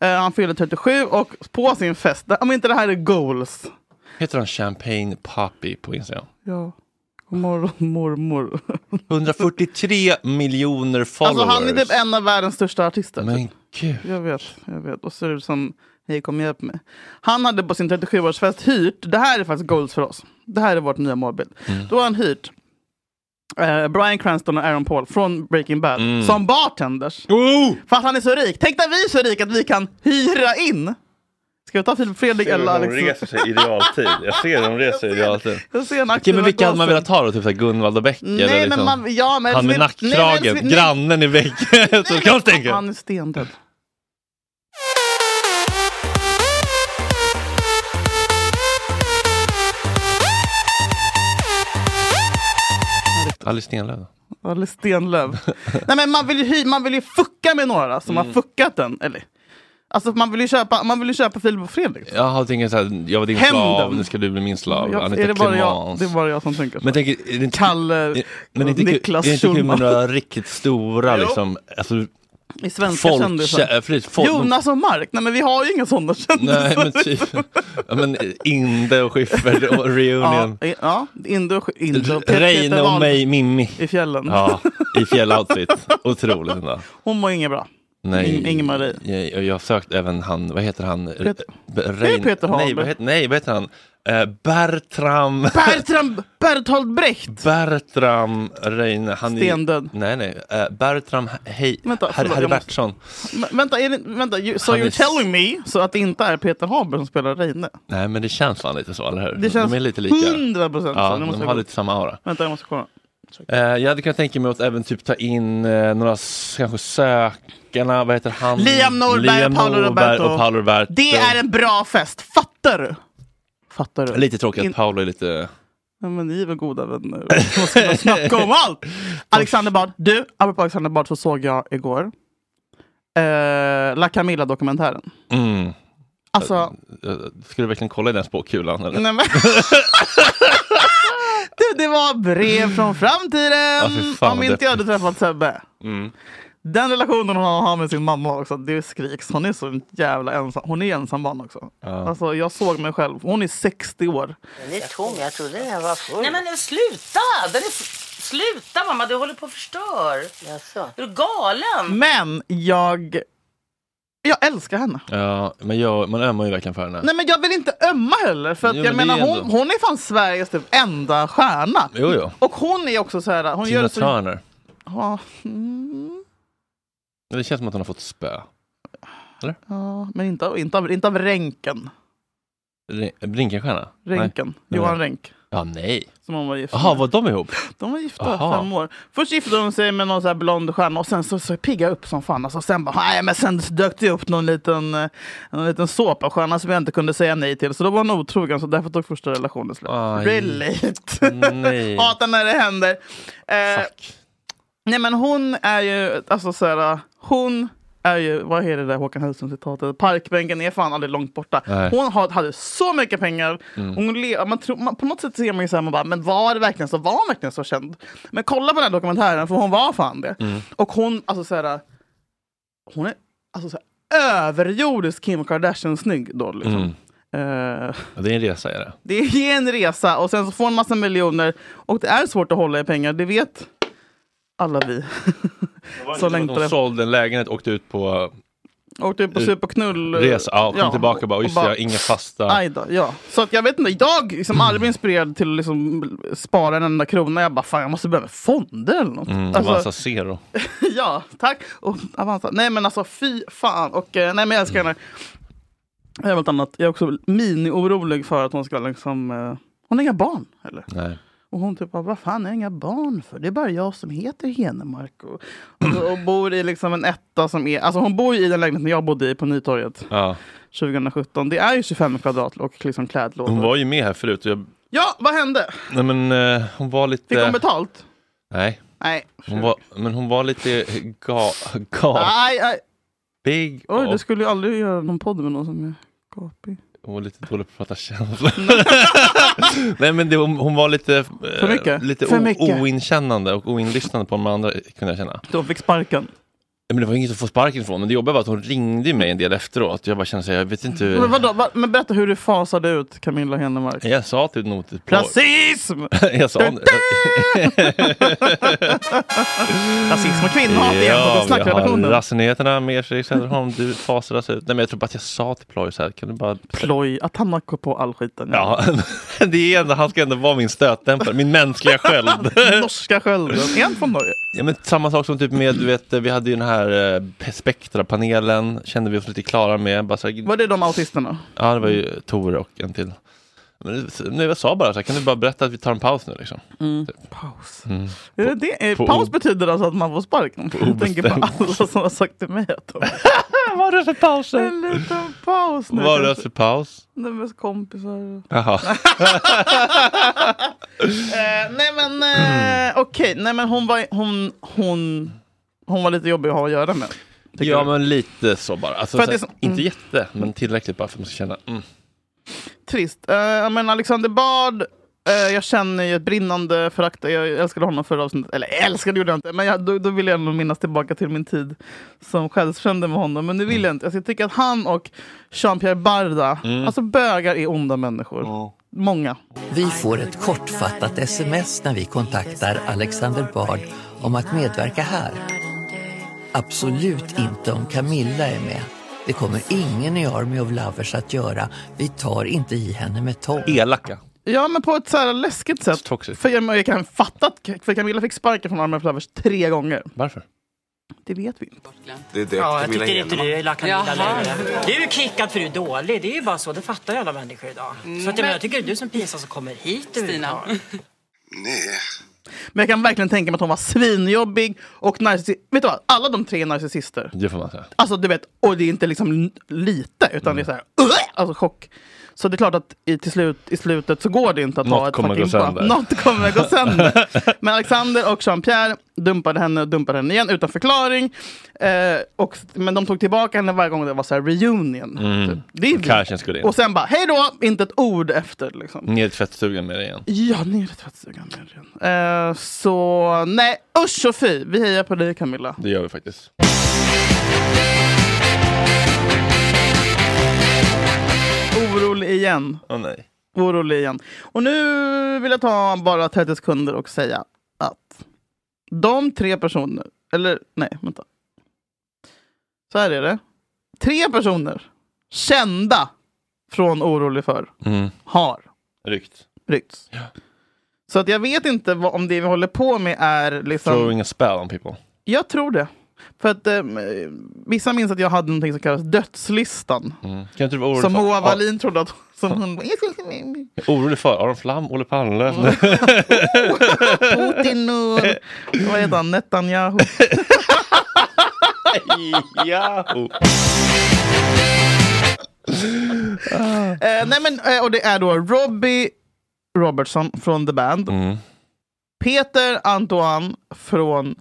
Speaker 2: Eh, han fyller 37 och på sin fest, där- om inte det här är goals.
Speaker 3: Heter han Champagne Poppy på Instagram?
Speaker 2: Ja. God morgon mormor.
Speaker 3: 143 miljoner followers.
Speaker 2: Alltså han är typ en av världens största artister.
Speaker 3: Men gud.
Speaker 2: Jag vet, jag vet. Och så är det som, hej kom hjälp mig. Han hade på sin 37-årsfest hyrt, det här är faktiskt goals för oss. Det här är vårt nya målbild.
Speaker 3: Mm.
Speaker 2: Då har han hyrt eh, Brian Cranston och Aaron Paul från Breaking Bad
Speaker 3: Mm.
Speaker 2: som bartenders.
Speaker 3: Oh!
Speaker 2: För att han är så rik. Tänk när vi är så rika att vi kan hyra in. Ska vi ta Filip Fredrik
Speaker 3: Ser hur
Speaker 2: eller
Speaker 3: de
Speaker 2: Alex?
Speaker 3: reser sig i realtid. Jag ser hur de reser sig i realtid.
Speaker 2: Jag ser en
Speaker 3: Okej,
Speaker 2: aktiv
Speaker 3: men vilka hade man
Speaker 2: narkos.
Speaker 3: velat ha då? Typ så här Gunvald och Becker?
Speaker 2: Nej,
Speaker 3: eller
Speaker 2: men
Speaker 3: liksom-
Speaker 2: man- ja, men
Speaker 3: han med
Speaker 2: Elvis- nej, men
Speaker 3: nackkragen,
Speaker 2: Elvis- nej.
Speaker 3: grannen i väggen. så kan man tänka.
Speaker 2: Han är stendöd.
Speaker 3: Alice Stenlöf.
Speaker 2: Eller Stenlöf. Nej men man vill, ju, hy- man vill ju fucka med några som
Speaker 3: Mm.
Speaker 2: har fuckat den. Eller? Alltså man vill ju köpa, man vill ju köpa Filip och Fredrik.
Speaker 3: Jaha, tänker så här, jag var din
Speaker 2: Hämnden.
Speaker 3: slav, nu ska du bli min slav.
Speaker 2: Jag-
Speaker 3: Anita
Speaker 2: är det bara jag,
Speaker 3: Clemans.
Speaker 2: det är bara jag som tänker så.
Speaker 3: Men tänk, är det inte,
Speaker 2: Kalle
Speaker 3: är, men är det inte, kul-
Speaker 2: Niklas
Speaker 3: är det inte kul
Speaker 2: Schulman.
Speaker 3: med några riktigt stora liksom, alltså,
Speaker 2: I svenska
Speaker 3: folk-
Speaker 2: kändisar.
Speaker 3: kä- precis, folk-
Speaker 2: Jonas och Mark. Nej men vi har ju inga sådana kändisar.
Speaker 3: Nej men typ, ja, men Inde och Schyffert och Reunion.
Speaker 2: Ja, i- ja Inde och, Inde och Pe- Peter
Speaker 3: Reine och
Speaker 2: Wahl-
Speaker 3: mig, Mimmi.
Speaker 2: I fjällen.
Speaker 3: Ja, i fjälloutfit. Otroligt ändå.
Speaker 2: Hon mår inget bra. In- Ingmarie.
Speaker 3: Jag, och jag har sökt även han, vad heter han?
Speaker 2: Peter-
Speaker 3: B- Rein-
Speaker 2: Det är Peter
Speaker 3: nej,
Speaker 2: Hallberg.
Speaker 3: vad heter, nej, vad heter han? Eh, Bertram...
Speaker 2: Bertram Berthold Brecht.
Speaker 3: Bertram Reine. Han är-
Speaker 2: Stendöd.
Speaker 3: Nej, nej. eh, Bertram Hej...
Speaker 2: Vänta,
Speaker 3: Herr,
Speaker 2: förlåt, jag
Speaker 3: Herbertsson.
Speaker 2: Men, vänta, är det, vänta you, so
Speaker 3: Han
Speaker 2: you're
Speaker 3: är-
Speaker 2: telling me så att det inte är Peter Haber som spelar Reine?
Speaker 3: Nej, men det känns fan lite så, eller hur?
Speaker 2: Det känns
Speaker 3: de är lite lika.
Speaker 2: 100% så.
Speaker 3: ja,
Speaker 2: Nu måste
Speaker 3: De
Speaker 2: jag
Speaker 3: har
Speaker 2: gå-
Speaker 3: lite samma aura.
Speaker 2: Vänta, jag måste kolla.
Speaker 3: Eh, jag hade kunnat tänka mig att även typ ta in eh, några s- kanske sökarna, vad heter han?
Speaker 2: Liam Norberg,
Speaker 3: Liam
Speaker 2: Paolo
Speaker 3: Norberg
Speaker 2: Roberto.
Speaker 3: och Paolo Roberto.
Speaker 2: Det är en bra fest, fattar du? Fattar du?
Speaker 3: Lite tråkigt
Speaker 2: In-
Speaker 3: att Paolo är lite...
Speaker 2: Ja, men ni är väl goda vänner? Vad ska man snacka om allt? Alexander Bard, du, apropå Alexander Bard så såg jag igår eh, La Camilla-dokumentären.
Speaker 3: Mm.
Speaker 2: Alltså,
Speaker 3: Eh, Ska du verkligen kolla i den spåkulan? Eller?
Speaker 2: nej men... du, det var brev från
Speaker 3: Ja,
Speaker 2: framtiden!
Speaker 3: fy fan,
Speaker 2: om
Speaker 3: vad
Speaker 2: inte jag hade träffat Sebbe.
Speaker 3: Mm.
Speaker 2: Den relationen hon har med sin mamma också, det skriks. Hon är så jävla ensam. Hon är ensam barn också.
Speaker 10: Ja.
Speaker 2: Alltså, jag såg mig själv. Hon är 60 år.
Speaker 10: Den är tom, jag trodde den här var full. Nej men sluta! Den är f- sluta mamma, du håller på att förstör. Jaså? Du är galen!
Speaker 2: Men jag... Jag älskar henne.
Speaker 3: Ja, men jag, man ömmar ju verkligen för henne.
Speaker 2: Nej men jag vill inte ömma heller. För att
Speaker 3: Jo,
Speaker 2: jag
Speaker 3: men det
Speaker 2: menar,
Speaker 3: är
Speaker 2: hon,
Speaker 3: ändå-
Speaker 2: hon är fan Sveriges typ enda stjärna.
Speaker 3: Jo, jo.
Speaker 2: Och hon är också så här... Hon gör
Speaker 3: Tina
Speaker 2: det så...
Speaker 3: Turner.
Speaker 2: Ja, mm,
Speaker 3: Men Det känns som att hon har fått spö.
Speaker 2: ja, men inte av, inte, av, inte av Renken.
Speaker 3: Re- Brinkenstierna? Nej.
Speaker 2: Renken.
Speaker 3: Nej.
Speaker 2: Johan Renck.
Speaker 3: Ja, nej.
Speaker 2: Som hon var gift
Speaker 3: Jaha,
Speaker 2: med.
Speaker 3: var de ihop?
Speaker 2: De var gifta
Speaker 3: Aha.
Speaker 2: fem år. Först gifte de sig med någon så här blond stjärna och sen så, så pigga upp som fan. Alltså, sen bara, nej men sen dök det upp någon liten, eh, någon liten såpastjärna som jag inte kunde säga nej till. Så då var han otrogen så därför tog första relationen slut.
Speaker 3: Aj.
Speaker 2: Relate!
Speaker 3: Nej.
Speaker 2: Hatar när det händer. Eh, nej men hon är ju, alltså så här, hon är ju, vad är det där Håkan Hellström-citatet? Parkbänken är fan aldrig långt borta.
Speaker 10: Nej.
Speaker 2: Hon har- hade så mycket pengar.
Speaker 10: Mm.
Speaker 2: Hon le, man tror, man, på något sätt ser man ju så här, man bara, men var det verkligen så? Var hon verkligen så känd? Men kolla på den här dokumentären, för hon var fan det.
Speaker 10: Mm.
Speaker 2: Och hon, alltså så här, hon är alltså så här, överjordisk Kim Kardashian snygg då. Liksom.
Speaker 3: Mm.
Speaker 2: Eh,
Speaker 3: Ja, det är en resa, är det.
Speaker 2: det är en resa och sen så får hon massa miljoner och det är svårt att hålla i pengar, det vet alla vi.
Speaker 3: Så
Speaker 2: Så
Speaker 3: länge
Speaker 2: längtar
Speaker 3: de
Speaker 2: jag.
Speaker 3: sålde en lägenhet och åkte ut på...
Speaker 2: Åkte ut på sup och knull.
Speaker 3: Resa, ja, kom tillbaka och bara, just det, jag har inga Mm. fasta-
Speaker 2: Aj då, ja. Så att jag vet inte, jag liksom aldrig blev inspirerad till att liksom spara en enda krona. Jag bara, fan jag måste börja med fonder eller något.
Speaker 3: Mm,
Speaker 2: Alltså,
Speaker 3: Avanza Zero.
Speaker 2: ja, tack. Och Avanza. Nej men alltså fy fan. Och, eh, nej men jag älskar
Speaker 3: Mm.
Speaker 2: henne. Jag är, något annat. jag är också mini-orolig för att hon ska liksom... Eh, hon har inga barn eller?
Speaker 3: Nej.
Speaker 2: Och hon typ, bara, vad fan är det inga barn för? Det är bara jag som heter Henemark. Och, och, och bor i liksom en etta som är... Alltså hon bor ju i den lägenheten jag bodde i på Nytorget
Speaker 3: Ja.
Speaker 2: 2017. Det är ju 25 kvadrat och liksom klädlådor.
Speaker 3: Hon var ju med här förut. och Jag,
Speaker 2: Ja, vad hände?
Speaker 3: nej, men, eh, hon var lite...
Speaker 2: Fick hon betalt?
Speaker 3: Nej.
Speaker 2: Nej.
Speaker 3: Hon var, men hon var lite ga, ga,
Speaker 2: Aj, aj.
Speaker 3: big
Speaker 2: Ah! Oj, du
Speaker 3: och,
Speaker 2: skulle ju aldrig göra någon podd med någon som är gapig.
Speaker 3: och lite dålig på att prata känslor. nej men det, hon, hon var lite, eh,
Speaker 2: För mycket.
Speaker 3: lite
Speaker 2: För
Speaker 3: o,
Speaker 2: mycket.
Speaker 3: oinkännande och oinlyssnande på de andra kunde jag känna.
Speaker 2: De fick sparken.
Speaker 3: men det var inget att få sparken ifrån. Men det jobbiga var att hon ringde mig en del efteråt. Jag bara kände så här, jag vet inte hur...
Speaker 2: Men, vadå, va, men berätta hur du fasade ut Camilla Henemark.
Speaker 3: Jag sa till notet på...
Speaker 2: Rasism!
Speaker 3: jag sa...
Speaker 2: Rasism och kvinnohat igen på
Speaker 3: vi har
Speaker 2: Snackredaktionen.
Speaker 3: Rassenyheterna med Fredrik Söderholm. Du fasades ut. Nej, men jag tror bara att jag sa till Ploy så här, kan du bara...
Speaker 2: Ploj, att han har gått på all skiten.
Speaker 3: Ja, det är ändå, han ska ändå vara min stötdämpare, min mänskliga sköld.
Speaker 2: Norska skölden. Är han från Norge?
Speaker 3: Ja, men samma sak som typ med, du vet, vi hade ju den här eh, Spektra-panelen, kände vi oss lite klara med. Bara så här,
Speaker 2: Var det de autisterna?
Speaker 3: Ja, det var ju Tor och en till. Men nu, jag sa bara så här, kan du bara berätta att vi tar en paus nu liksom?
Speaker 2: Mm. Paus.
Speaker 3: Mm.
Speaker 2: Är det det? Eh,
Speaker 3: på
Speaker 2: Paus
Speaker 3: o-
Speaker 2: betyder alltså att man får sparken. Jag tänker på
Speaker 3: obestämt.
Speaker 2: alla som har sagt till mig att de...
Speaker 3: Vad är det för pauser?
Speaker 2: En liten paus nu.
Speaker 3: Vad är det
Speaker 2: kanske.
Speaker 3: för paus?
Speaker 2: Nej, men kompisar.
Speaker 3: Jaha.
Speaker 2: Eh, nej men eh, okej, nej men hon var, hon, hon, hon var lite jobbig att ha att göra med.
Speaker 3: Ja, men lite så bara. Alltså,
Speaker 2: För
Speaker 3: så
Speaker 2: att
Speaker 3: här,
Speaker 2: det är så-
Speaker 3: Inte
Speaker 2: mm.
Speaker 3: jätte, men tillräckligt bara för att man ska känna. Mm.
Speaker 2: Trist. Eh, jag menar Alexander Bard, eh, jag känner ju ett brinnande förakt. Jag älskade honom förra avsnittet. Eller älskade gjorde jag inte, men jag, då, då vill jag ändå minnas tillbaka till min tid som själsfrände med honom. Men nu vill jag inte. Alltså, jag tycker att han och Jean-Pierre Barda,
Speaker 11: Mm.
Speaker 2: alltså bögar är onda människor. Många.
Speaker 11: Vi får ett kortfattat sms när vi kontaktar Alexander Bard om att medverka här. Absolut inte om Camilla är med. Det kommer ingen i Army of Lovers att göra. Vi tar inte i henne med tång.
Speaker 3: Elaka.
Speaker 2: Ja, men på ett så här läskigt sätt. För jag, jag kan fatta att för Camilla fick sparken från Army of Lovers tre gånger.
Speaker 3: Varför?
Speaker 2: Det vet vi inte.
Speaker 12: Det är det
Speaker 13: Ja, jag
Speaker 12: Camilla
Speaker 13: tycker inte
Speaker 12: Henemark.
Speaker 13: du är Camilla
Speaker 12: Jaha.
Speaker 13: längre. Du är kickad för du är dålig. Det är ju bara så. Det fattar ju alla människor idag. Så att, jag,
Speaker 12: men-
Speaker 13: menar, jag tycker det är du som pinsam som kommer hit Stina.
Speaker 12: Nej.
Speaker 2: Men jag kan verkligen tänka mig att hon var svinjobbig och narcissist. Vet du vad? Alla de tre är narcissister.
Speaker 3: Det får man säga.
Speaker 2: Alltså du vet, och det är inte liksom n- lite utan
Speaker 3: Mm.
Speaker 2: det är så här, "Ugh!" alltså chock. Så det är klart att i, till slut, i slutet så går det inte att ha
Speaker 3: Något
Speaker 2: ett
Speaker 3: kommer
Speaker 2: fucking
Speaker 3: gå
Speaker 2: barn.
Speaker 3: sönder.
Speaker 2: Något kommer gå sönder. Men Alexander och Jean-Pierre dumpade henne och dumpade henne igen utan förklaring. Eh, och, men de tog tillbaka henne varje gång det var så här reunion.
Speaker 3: Mm.
Speaker 2: Det är vi.
Speaker 3: Cashen skulle in. Mm.
Speaker 2: Och sen bara, hej då! Inte ett ord efter liksom.
Speaker 3: Ner i tvättstugan med det igen.
Speaker 2: Ja, ner i tvättstugan. ner igen. Eh, så nej, usch och fy. Vi hejar på dig Camilla.
Speaker 3: Det gör vi faktiskt.
Speaker 2: Orolig igen.
Speaker 3: Åh nej.
Speaker 2: Orolig igen. Och nu vill jag ta bara 30 sekunder och säga att de tre personer, eller nej, vänta. Så här är det. Tre personer kända från Orolig för
Speaker 3: Mm.
Speaker 2: har
Speaker 3: Rykt.
Speaker 2: ryckts. Så att jag vet inte vad, om det vi håller på med är liksom...
Speaker 3: Throwing a spell on people.
Speaker 2: Jag tror det. För att eh, vissa minns att jag hade någonting som kallas dödslistan.
Speaker 3: Mm. Kan inte du vara orolig
Speaker 2: Som
Speaker 3: för?
Speaker 2: Moa
Speaker 3: Ja.
Speaker 2: Wallin trodde att som hon
Speaker 3: Jag är Orolig för Aron Flam, Olle Palme.
Speaker 2: Putin och vad heter han, Netanyahu.
Speaker 3: Yahoo.
Speaker 2: Eh, nej men, eh, och det är då Robbie Robertson från The Band.
Speaker 3: Mm.
Speaker 2: Peter Antoine från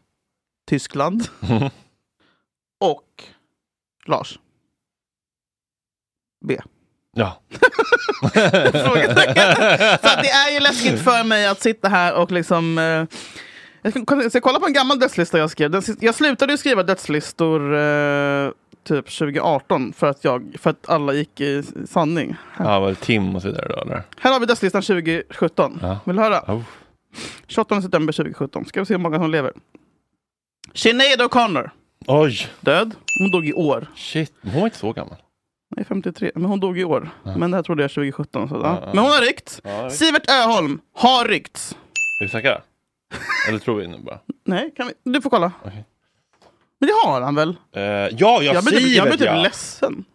Speaker 2: Tyskland. Och Lars. B.
Speaker 3: Ja.
Speaker 2: Så att det är ju läskigt för mig att sitta här och liksom... Eh, jag ska, jag ska kolla på en gammal dödslista jag skrev. Den, sist- jag slutade ju skriva dödslistor eh, typ 2018 för att, jag, för att alla gick i sanning.
Speaker 3: Ja, var det Tim och så vidare då eller?
Speaker 2: Här har vi dödslistan 2017.
Speaker 3: Ja.
Speaker 2: Vill du höra?
Speaker 3: Oh.
Speaker 2: 28 september 2017. Ska vi se hur många som lever. Sinead O'Connor.
Speaker 3: Oj.
Speaker 2: Död. Hon dog i år.
Speaker 3: Shit, hon var inte så gammal.
Speaker 2: Nej, 53. Men hon dog i år. Men det här trodde jag 2017. Så, ja.
Speaker 3: Ja, ja.
Speaker 2: Men hon har ryckt.
Speaker 3: Ja, jag vet.
Speaker 2: Sivert Öholm har ryckts.
Speaker 3: Är vi säkra? Eller tror vi nu bara?
Speaker 2: Nej, kan vi? du får kolla. Men det har han väl?
Speaker 3: Eh, ja, jag,
Speaker 2: jag blir typ, jag
Speaker 3: Sivert
Speaker 2: blir typ
Speaker 3: ja.
Speaker 2: ledsen.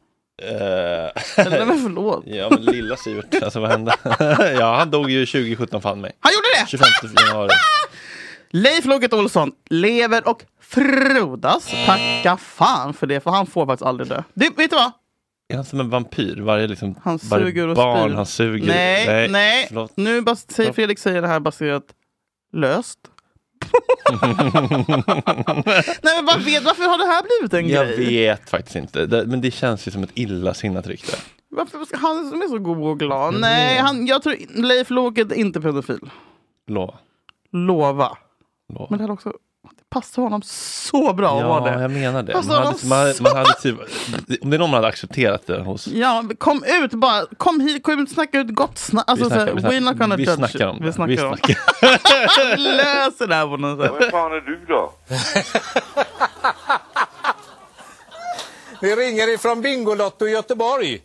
Speaker 3: Eh,
Speaker 2: Eller men förlåt.
Speaker 3: ja, men lilla Sivert. Alltså vad hände? ja, han dog ju 2017 fan mig.
Speaker 2: Han gjorde det!
Speaker 3: 25 januari.
Speaker 2: Leif Loket Olsson lever och frodas. Tacka fan för det, för han får faktiskt aldrig dö. Du, vet du vad?
Speaker 3: Är han som en vampyr? Varje, liksom,
Speaker 2: Han
Speaker 3: varje
Speaker 2: suger och
Speaker 3: barn
Speaker 2: spyr.
Speaker 3: han suger.
Speaker 2: Nej, nej.
Speaker 3: Förlåt.
Speaker 2: Nu bas- säger Fredrik säger det här baserat löst. Nej, men vad vet, varför har det här blivit en
Speaker 3: Jag
Speaker 2: grej?
Speaker 3: vet faktiskt inte. Det, men det känns ju som ett illasinnat rykte.
Speaker 2: Varför ska han som är så god och glad? Nej, han, jag tror Leif Loket är inte pedofil.
Speaker 3: Lova.
Speaker 2: Lova.
Speaker 3: Lova.
Speaker 2: Men det här är också Det passar honom så bra att vara det.
Speaker 3: jag menar det. Man
Speaker 2: Alltså,
Speaker 3: hade,
Speaker 2: de
Speaker 3: man, man hade typ, om det är någon man hade accepterat det hos.
Speaker 2: Ja, kom ut bara. Kom hit, kom ut, snacka ut gott snack. Alltså,
Speaker 3: vi snackar,
Speaker 2: så här,
Speaker 3: vi snackar,
Speaker 2: we're not gonna
Speaker 3: vi
Speaker 2: judge
Speaker 3: snackar
Speaker 2: you.
Speaker 3: om
Speaker 2: Vi
Speaker 3: det.
Speaker 2: snackar
Speaker 3: Vi
Speaker 2: om
Speaker 3: snackar.
Speaker 2: Vi löser det här på något sätt.
Speaker 12: Vem fan är du då?
Speaker 14: Vi ringer ifrån Bingolotto i Göteborg.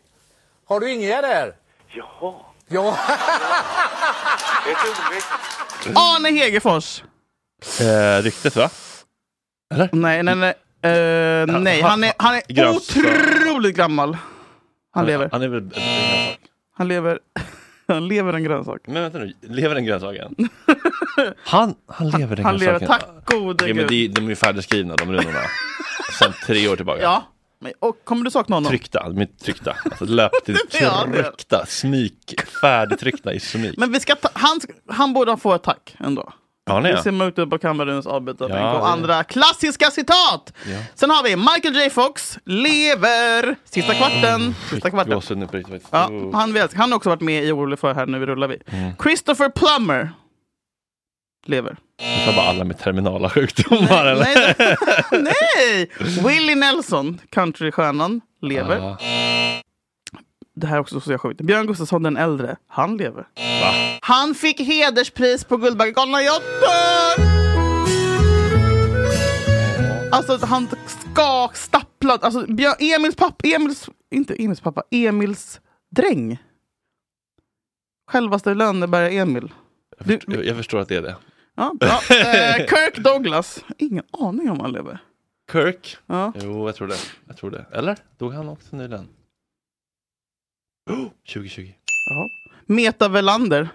Speaker 14: Har du Ingegärd där? Jaha. Ja.
Speaker 2: Arne Hegerfors.
Speaker 3: Eh, ryktet va? Eller?
Speaker 2: Nej, nej, nej. Eh, nej, han är, han är
Speaker 3: Graf-
Speaker 2: otroligt gammal. Han lever.
Speaker 3: Han är väl en grönsak?
Speaker 2: Han lever, han lever en grönsak.
Speaker 3: Men vänta nu, lever den grönsaken? Han, han lever den
Speaker 2: Han lever,
Speaker 3: grönsaken?
Speaker 2: tack gode
Speaker 3: ja, men
Speaker 2: gud.
Speaker 3: de, de är ju färdigskrivna de runorna. Sen tre år tillbaka.
Speaker 2: Ja. Men- Och kommer du sakna honom?
Speaker 3: Tryckta, de är tryckta. Alltså löptid,
Speaker 2: Ja, det-
Speaker 3: tryckta, smyk, färdigtryckta i smyk.
Speaker 2: Men vi ska ta, han, han borde få ett tack ändå.
Speaker 3: Ja, han är.
Speaker 2: Vi ser mot ut på Kameruns avbytarbänk
Speaker 3: Ja,
Speaker 2: och
Speaker 3: det-
Speaker 2: andra klassiska citat.
Speaker 3: Ja.
Speaker 2: Sen har vi Michael J Fox, lever, sista
Speaker 3: Mm.
Speaker 2: kvarten. Sista kvarten.
Speaker 3: Gåshud nu på riktigt faktiskt.
Speaker 2: Ja,
Speaker 3: Oh.
Speaker 2: han, vet, han har också varit med i Orolig för här, nu rullar vi.
Speaker 3: Mm.
Speaker 2: Christopher Plummer. Lever.
Speaker 3: Det var bara alla med terminala sjukdomar eller?
Speaker 2: Nej, nej! Willie Nelson, countrystjärnan, lever.
Speaker 3: Ah.
Speaker 2: Det här är också så jag sjukt. Björn Gustafsson den äldre, han lever.
Speaker 3: Va?
Speaker 2: Han fick hederspris på Guldbaggegalan. Jag dör! Alltså han skak, stapplad. Alltså Björn, Emils pappa, Emils, inte Emils pappa, Emils dräng. Självaste Lönneberga-Emil.
Speaker 3: Jag, jag förstår att det är det.
Speaker 2: Ja, bra. Eh, Kirk Douglas. Ingen aning om han lever.
Speaker 3: Kirk?
Speaker 2: Ja.
Speaker 3: Jo, jag tror det. Jag tror det. Eller? Dog han också nyligen? Oh, 2020.
Speaker 2: Jaha. Meta Velander.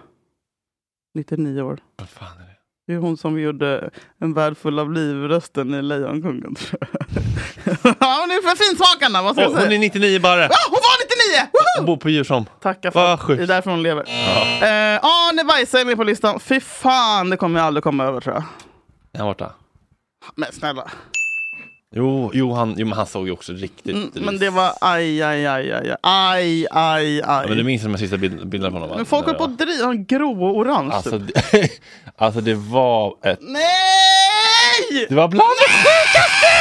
Speaker 2: 99 år.
Speaker 3: Vad fan är det?
Speaker 2: Det är hon som gjorde En värld full av liv-rösten i Lejonkungen. tror jag. Ja, hon är för finsmakarna, vad ska jag
Speaker 3: Åh, hon är
Speaker 2: säga?
Speaker 3: 99 bara!
Speaker 2: Ah, hon var 99! Woho!
Speaker 3: Hon bor på Djursholm.
Speaker 2: Tacka
Speaker 3: Vad
Speaker 2: Det
Speaker 3: sjukt.
Speaker 2: är därför hon lever.
Speaker 3: Ja.
Speaker 2: Eh, Arne Weise är med på listan. Fy fan, det kommer jag aldrig komma över tror jag.
Speaker 3: Är han borta?
Speaker 2: Men snälla.
Speaker 3: Jo, jo, han, jo, men han såg ju också riktigt
Speaker 2: Mm,
Speaker 3: ris.
Speaker 2: men det var aj, aj, aj, aj, aj, aj, aj.
Speaker 3: Ja, men du minns de här sista bild- bilderna på honom? va?
Speaker 2: Men folk
Speaker 3: När
Speaker 2: håller
Speaker 3: det
Speaker 2: på
Speaker 3: var-
Speaker 2: att driva en grå och orange.
Speaker 3: Alltså,
Speaker 2: typ.
Speaker 3: det, alltså det var ett...
Speaker 2: Nej!
Speaker 3: Det var bland det sjukaste!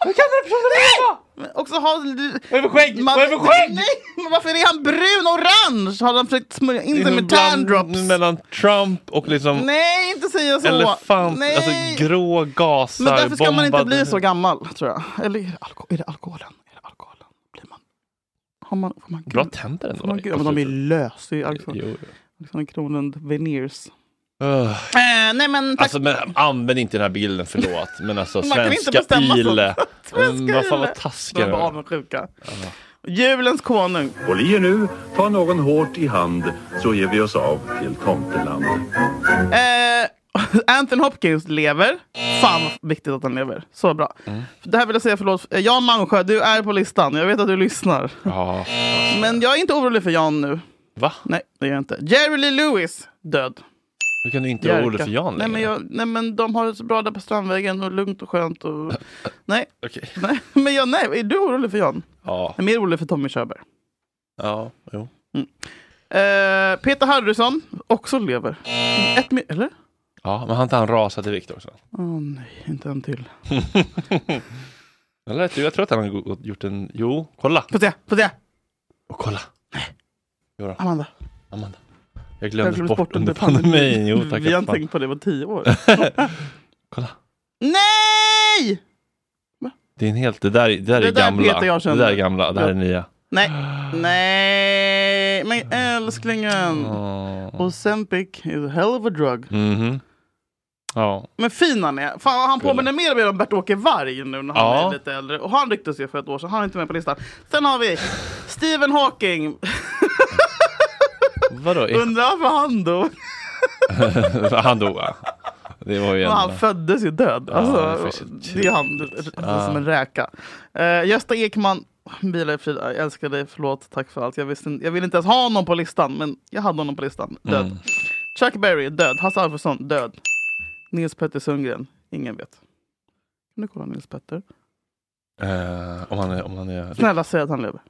Speaker 2: Hur kan den personen leva? Men också ha... Vad är det för skägg? Man... Vad är det för skägg? Nej, men varför är han brun och orange? Har de försökt smörja in det med
Speaker 3: Liksom Bland-
Speaker 2: tandrop?
Speaker 3: Mellan Trump och liksom
Speaker 2: Nej, inte säga så!
Speaker 3: elefant,
Speaker 2: Nej.
Speaker 3: alltså grå gasar,
Speaker 2: men därför ska man inte
Speaker 3: bombade-
Speaker 2: bli så gammal, tror jag. Eller är det, alko- är det alkoholen? Är det alkoholen? Blir man... Har man... Får man
Speaker 3: Bra tänder ändå.
Speaker 2: Får man, ja, men de är lös. Det är Alexander, Alexander Kronlund Veneers.
Speaker 3: Öh.
Speaker 2: Eh, nej, men tack.
Speaker 3: Alltså, men använd inte den här bilden, förlåt. Men alltså,
Speaker 2: Man kan inte
Speaker 3: svenska
Speaker 2: bestämma sånt.
Speaker 3: Ile. Mm,
Speaker 2: Svenska
Speaker 3: Vad fan
Speaker 2: Ile.
Speaker 3: vad taskiga
Speaker 2: De
Speaker 3: de
Speaker 2: var
Speaker 3: är.
Speaker 2: avundsjuka. Julens konung.
Speaker 15: Olje nu, ta någon hårt i hand så ger vi oss av till tomteland.
Speaker 2: Eh, Anthony Hopkins lever. Fan vad viktigt att han lever. Så bra.
Speaker 3: Mm.
Speaker 2: Det här vill jag säga förlåt. Eh, Jan Malmsjö, du är på listan. Jag vet att du lyssnar.
Speaker 3: Ja.
Speaker 2: Men jag är inte orolig för Jan nu.
Speaker 3: Va?
Speaker 2: Nej, det är jag inte. Jerry Lee Lewis, död.
Speaker 3: Hur kan du inte vara orolig
Speaker 2: Jerka.
Speaker 3: för Jan
Speaker 2: nej, men
Speaker 3: längre?
Speaker 2: jag, nej, men de har det så bra där på Strandvägen och lugnt och skönt. Och... Nej.
Speaker 3: Okej.
Speaker 2: nej, men jag, nej, är du orolig för Jan?
Speaker 3: Ja.
Speaker 2: Jag är mer orolig för Tommy Körberg.
Speaker 3: Ja, jo.
Speaker 2: Eh, Peter Harrison, också lever. Ett, mi- eller?
Speaker 3: Ja, men har inte han rasat i vikt också?
Speaker 2: Åh nej, inte en till.
Speaker 3: Eller du, jag tror att han har go- gjort en... Jo, kolla!
Speaker 2: Få se, få se!
Speaker 3: Och kolla! Jo då.
Speaker 2: Amanda.
Speaker 3: Amanda. Jag glömdes bort, under pandemin. Jo, tack.
Speaker 2: Mm, Vi har
Speaker 3: jag
Speaker 2: inte
Speaker 3: fan.
Speaker 2: tänkt på det på tio år.
Speaker 3: Kolla.
Speaker 2: Nej!
Speaker 3: Det är en helt... Det där, det där
Speaker 2: Det
Speaker 3: är
Speaker 2: där
Speaker 3: gamla.
Speaker 2: Peter jag
Speaker 3: det
Speaker 2: känner.
Speaker 3: där är gamla, det här är nya.
Speaker 2: Nej, nej, men älsklingen.
Speaker 3: Oh.
Speaker 2: Ozempic is a hell of a drug.
Speaker 3: Mhm. Ja.
Speaker 2: Men fin han är. Fan, han
Speaker 3: Gulle.
Speaker 2: påminner mer och mer om Bert-Åke Varg nu när han
Speaker 3: Ja.
Speaker 2: är lite äldre. Och han rycktes ju för ett år sedan. Han är inte med på listan. Sen har vi Stephen Hawking.
Speaker 3: Vadå? Är-
Speaker 2: Undrar varför han dog.
Speaker 3: han dog va? Det var ju en...
Speaker 2: Men Han föddes ju död.
Speaker 3: Ja, det
Speaker 2: Alltså,
Speaker 3: finns ju
Speaker 2: det är han
Speaker 3: Ja.
Speaker 2: som en räka. Eh, Gösta Ekman, Vila i frid. Jag älskar dig, förlåt, tack för allt. Jag, visste, inte- jag ville inte ens ha honom på listan, men jag hade honom på listan. Död.
Speaker 3: Mm.
Speaker 2: Chuck Berry, död. Hasse Alfredson, död. Nils Petter Sundgren, ingen vet. Kan du kolla Nils Petter?
Speaker 3: Eh, om han är... Om han är...
Speaker 2: Snälla säg att han lever.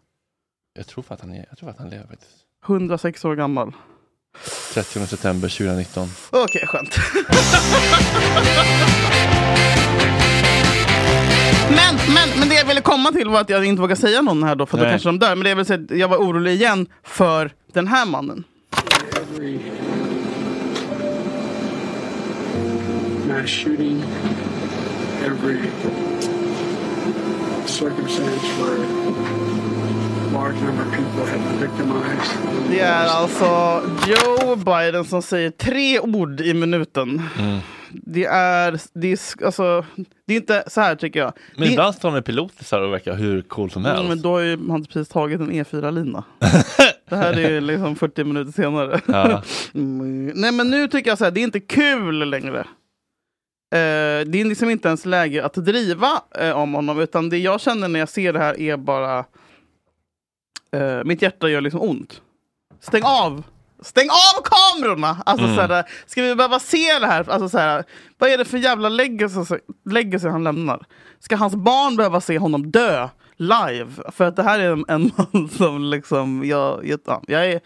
Speaker 3: Jag tror för att han är... Jag tror för att han lever faktiskt.
Speaker 2: 106 år gammal.
Speaker 3: 30 september 2019.
Speaker 2: Okej, skönt. komma till var att jag inte vågar säga någon här då, för då
Speaker 3: Nej.
Speaker 2: kanske de dör. Men det är väl så att jag var orolig igen för den här mannen.
Speaker 12: mass shooting, every circumstance where large number of people have been victimized.
Speaker 2: Det är alltså Joe Biden som säger tre ord i minuten.
Speaker 3: Mm.
Speaker 2: Det är, det är, sk- alltså, det är inte så här tycker jag.
Speaker 3: Men
Speaker 2: det,
Speaker 3: ibland står han med pilotisar och verkar hur cool som helst.
Speaker 2: Mm, men då har ju han precis tagit en E4-lina. det här är ju liksom 40 minuter senare.
Speaker 3: Ja.
Speaker 2: Mm. Nej men nu tycker jag så här, det är inte kul längre. Eh, det är liksom inte ens läge att driva eh, om honom, utan det jag känner när jag ser det här är bara... eh, mitt hjärta gör liksom ont. Stäng av! Stäng av kamerorna! Alltså,
Speaker 4: Mm.
Speaker 2: såhär, ska vi behöva se det här? Alltså, såhär, vad är det för jävla legacy, legacy han lämnar? Ska hans barn behöva se honom dö live? För att det här är en, en man som liksom... Jag, jag, ja, jag, är,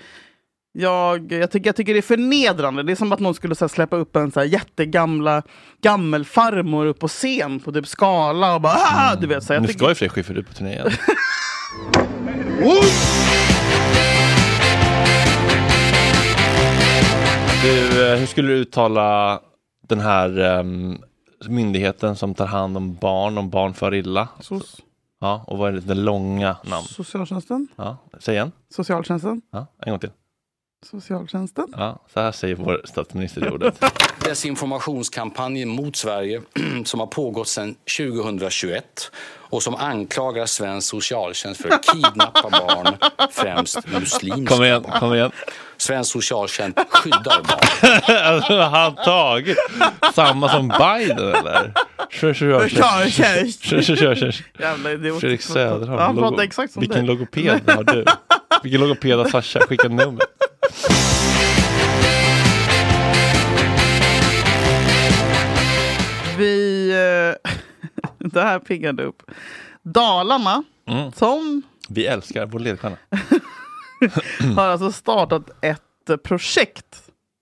Speaker 2: jag, jag, tycker, jag tycker det är förnedrande. Det är som att någon skulle såhär, släppa upp en såhär, jättegamla gammelfarmor upp på scen på typ Skala och bara... Ah! Du vet, så jag
Speaker 3: nu
Speaker 2: tycker-
Speaker 3: ska ju Fredrik Schyffert ut på turné igen. Du, eh, hur skulle du uttala den här ehm, myndigheten som tar hand om barn, om barn far illa?
Speaker 2: Sos.
Speaker 3: Ja, och vad är det, det långa namn?
Speaker 2: Socialtjänsten?
Speaker 3: Ja, säg igen.
Speaker 2: Socialtjänsten?
Speaker 3: Ja, en gång till.
Speaker 2: Socialtjänsten?
Speaker 3: Ja, så här säger vår statsminister i ordet.
Speaker 16: Desinformationskampanjen mot Sverige som har pågått sedan 2021 och som anklagar svensk socialtjänst för att kidnappa barn, främst muslimska
Speaker 3: Kom igen, kom igen.
Speaker 16: Svensk socialtjänst skyddar barn.
Speaker 3: alltså, har han tagit samma som Biden eller? Kör, kör, kör, kör. Kör, kör, kör, kör.
Speaker 2: Jävla idiot.
Speaker 3: Fredrik Söderholm.
Speaker 2: Ja, han pratar
Speaker 3: logo-
Speaker 2: exakt som
Speaker 3: Vilken
Speaker 2: dig.
Speaker 3: logoped har du? Vilken logoped har Sasha? Skicka numret.
Speaker 2: Vi... eh, Det här piggade upp. Dalarna,
Speaker 3: Mm.
Speaker 2: som
Speaker 3: Vi älskar vår ledstjärna. Mm.
Speaker 2: har alltså startat ett projekt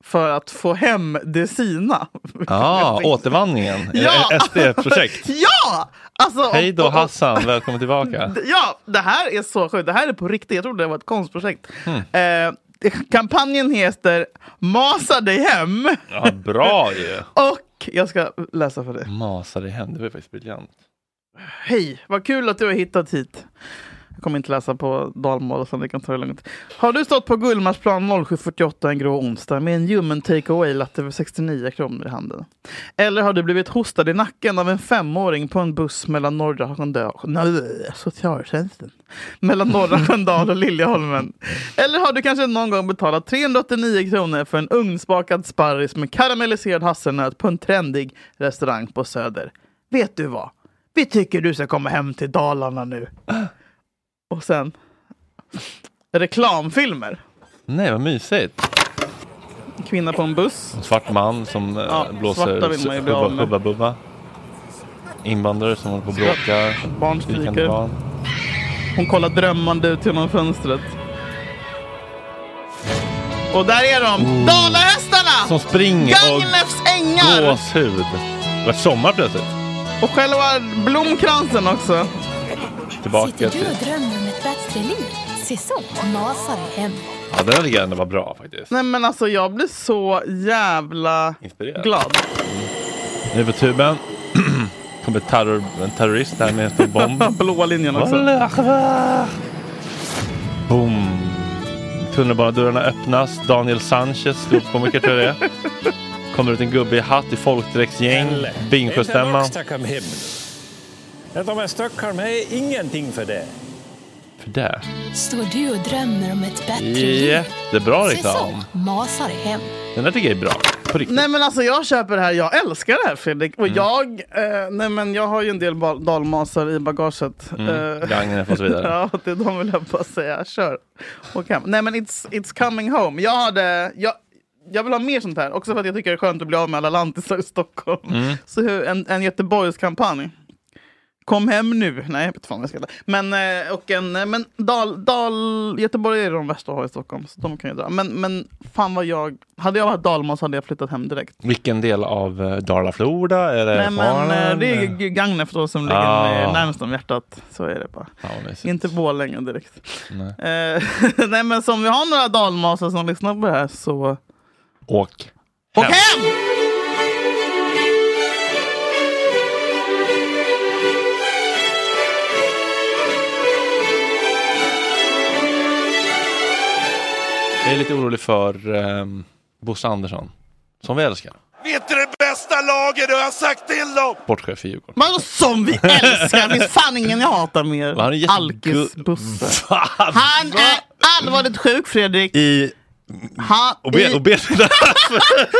Speaker 2: för att få hem det sina.
Speaker 3: Ja, återvandringen.
Speaker 2: Ja!
Speaker 3: Ett SD-projekt.
Speaker 2: ja! Alltså, om-
Speaker 3: Hej då
Speaker 2: om- om-
Speaker 3: Hassan, välkommen tillbaka.
Speaker 2: D- Ja, det här är så sjukt. Det här är på riktigt. Jag trodde det var ett konstprojekt.
Speaker 3: Mm.
Speaker 2: Eh, kampanjen heter Masa dig hem.
Speaker 3: Ja, bra ju!
Speaker 2: Och jag ska läsa för dig.
Speaker 3: Masa dig hem, det var ju faktiskt briljant.
Speaker 2: Hej, vad kul att du har hittat hit. Jag kommer inte läsa på dalmål så ni kan ta det lugnt. Har du stått på Gullmarsplan 07.48 en grå onsdag med en ljummen takeaway latte för 69 kronor i handen? Eller har du blivit hostad i nacken av en femåring på en buss mellan norra Sköndal... Nej, socialtjänsten. Mellan norra Sköndal och Liljeholmen? Eller har du kanske någon gång betalat 389 kronor för en ugnsbakad sparris med karamelliserad hasselnöt på en trendig restaurang på Söder? Vet du vad? Vi tycker du ska komma hem till Dalarna nu. Och sen reklamfilmer.
Speaker 3: Nej, vad mysigt.
Speaker 2: Kvinna på en buss.
Speaker 3: En svart man som eh,
Speaker 2: Ja, svarta
Speaker 3: blåser
Speaker 2: vill man ju bli
Speaker 3: hubba,
Speaker 2: av med.
Speaker 3: hubba bubba. Invandrare som håller på och bråkar.
Speaker 2: Barn
Speaker 3: Skrikande
Speaker 2: skriker.
Speaker 3: barn.
Speaker 2: Hon kollar drömmande ut genom fönstret. Och där är de! Dalahästarna!
Speaker 3: Som springer och
Speaker 2: Gagnefs ängar!
Speaker 3: gåshud. Det var sommar plötsligt.
Speaker 2: Och själva blomkransen också.
Speaker 3: Tillbaka till...
Speaker 17: drömmer om ett bättre liv? Se så, NASA är hem.
Speaker 3: Ja, den här tycker jag ändå var bra faktiskt.
Speaker 2: Nej men alltså jag blir så jävla
Speaker 3: Inspirerad.
Speaker 2: glad.
Speaker 3: Nu på tuben kommer terror, en terrorist här med en stor bomb.
Speaker 2: Blåa linjen också.
Speaker 3: Wallah, Boom! Tunnelbanedörrarna öppnas. Daniel Sanchez, ståuppkomiker tror jag det är. Kommer ut en gubbe i hatt i folkdräktsgäng. Bingsjöstämman.
Speaker 18: Stockholm hem. Att de är Stockholm är ingenting för det.
Speaker 3: För det.
Speaker 17: Står du och drömmer om ett bättre liv?
Speaker 3: Jättebra
Speaker 17: Se så,
Speaker 3: reklam.
Speaker 17: NASA är hem.
Speaker 3: Den där tycker jag är bra. På riktigt.
Speaker 2: Nej men alltså jag köper det här, jag älskar det här Fredrik. Och jag, eh, nej men jag har ju en del bal- dalmasar i bagaget.
Speaker 3: Mm,
Speaker 2: Eh,
Speaker 3: Gagnef och så vidare.
Speaker 2: ja, det, de vill jag bara säga, kör. Och hem. Nej men it's, it's coming home. Jag hade, jag, jag vill ha mer sånt här, också för att jag tycker det är skönt att bli av med alla lantisar i Stockholm.
Speaker 3: Mm.
Speaker 2: Så hur- en, en Göteborgskampanj. Kom hem nu. Nej, jag vet inte fan vad jag ska heta. Men, eh, och en, eh, men Dal, Dal, Göteborg är de värsta att ha i Stockholm, så de kan ju dra. Men, men fan vad jag... Hade jag varit dalmas hade jag flyttat hem direkt.
Speaker 3: Vilken del av eh, Dala-Floda? Är det
Speaker 2: Nej, men eh,
Speaker 3: Falun?
Speaker 2: det är G- Gagnef då som ligger
Speaker 3: Ja.
Speaker 2: eh, närmast om hjärtat. Så är det bara. Inte Borlänge direkt.
Speaker 3: Nej.
Speaker 2: Eh, Nej men som vi har några dalmasar som lyssnar på det här så...
Speaker 3: Åk.
Speaker 2: Åk hem!
Speaker 3: Jag är lite orolig för ehm, Bosse Andersson, som vi älskar.
Speaker 19: Vet du det bästa laget? Det har jag sagt till dem!
Speaker 3: Sportchef i Djurgården.
Speaker 2: Men vadå som vi älskar! Det finns fan ingen jag hatar mer.
Speaker 3: Han är jätte-
Speaker 2: Alkis-Bosse. Han är allvarligt sjuk Fredrik.
Speaker 3: I...
Speaker 2: Han
Speaker 3: Och be-
Speaker 2: i-
Speaker 3: och be-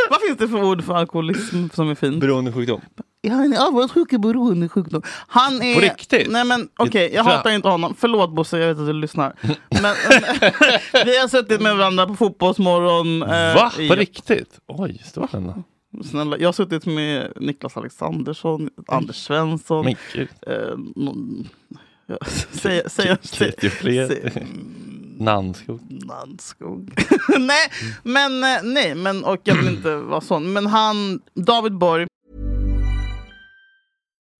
Speaker 2: Vad finns det för ord för alkoholism som är fint?
Speaker 3: Beroendesjukdom.
Speaker 2: Han är allvarligt sjuk i beroendesjukdom. Han är...
Speaker 3: På riktigt?
Speaker 2: Nej men okej, jag
Speaker 3: tror jag-
Speaker 2: hatar inte honom. Förlåt Bosse, jag vet att du lyssnar. Men, vi har suttit med varandra på Fotbollsmorgon. eh,
Speaker 3: Va?
Speaker 2: i-
Speaker 3: På riktigt? Oj, stort ändå.
Speaker 2: Snälla, jag har suttit med Niklas Alexandersson, Anders Svensson.
Speaker 3: Men gud.
Speaker 2: Eh, någon, ja, säg, säg, säg,
Speaker 3: Kristi fred.
Speaker 2: säg-
Speaker 3: Nannskog.
Speaker 2: Nannskog. nej, men eh, nej, men och jag vill inte vara sån. Men han, David Borg,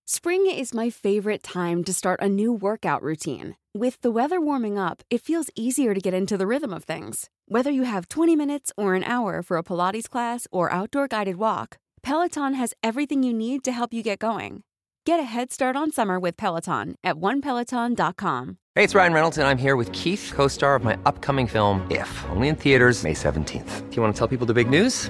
Speaker 20: Spring is my favorite time to start a new workout routine. With the weather warming up, it feels easier to get into the rhythm of things. Whether you have 20 minutes or an hour for a Pilates class or outdoor guided walk, Peloton has everything you need to help you get going. Get a head start on summer with Peloton at onepeloton.com.
Speaker 5: Hey, it's Ryan Reynolds, and I'm here with Keith, co star of my upcoming film, If, only in theaters, May 17th. Do you want to tell people the big news?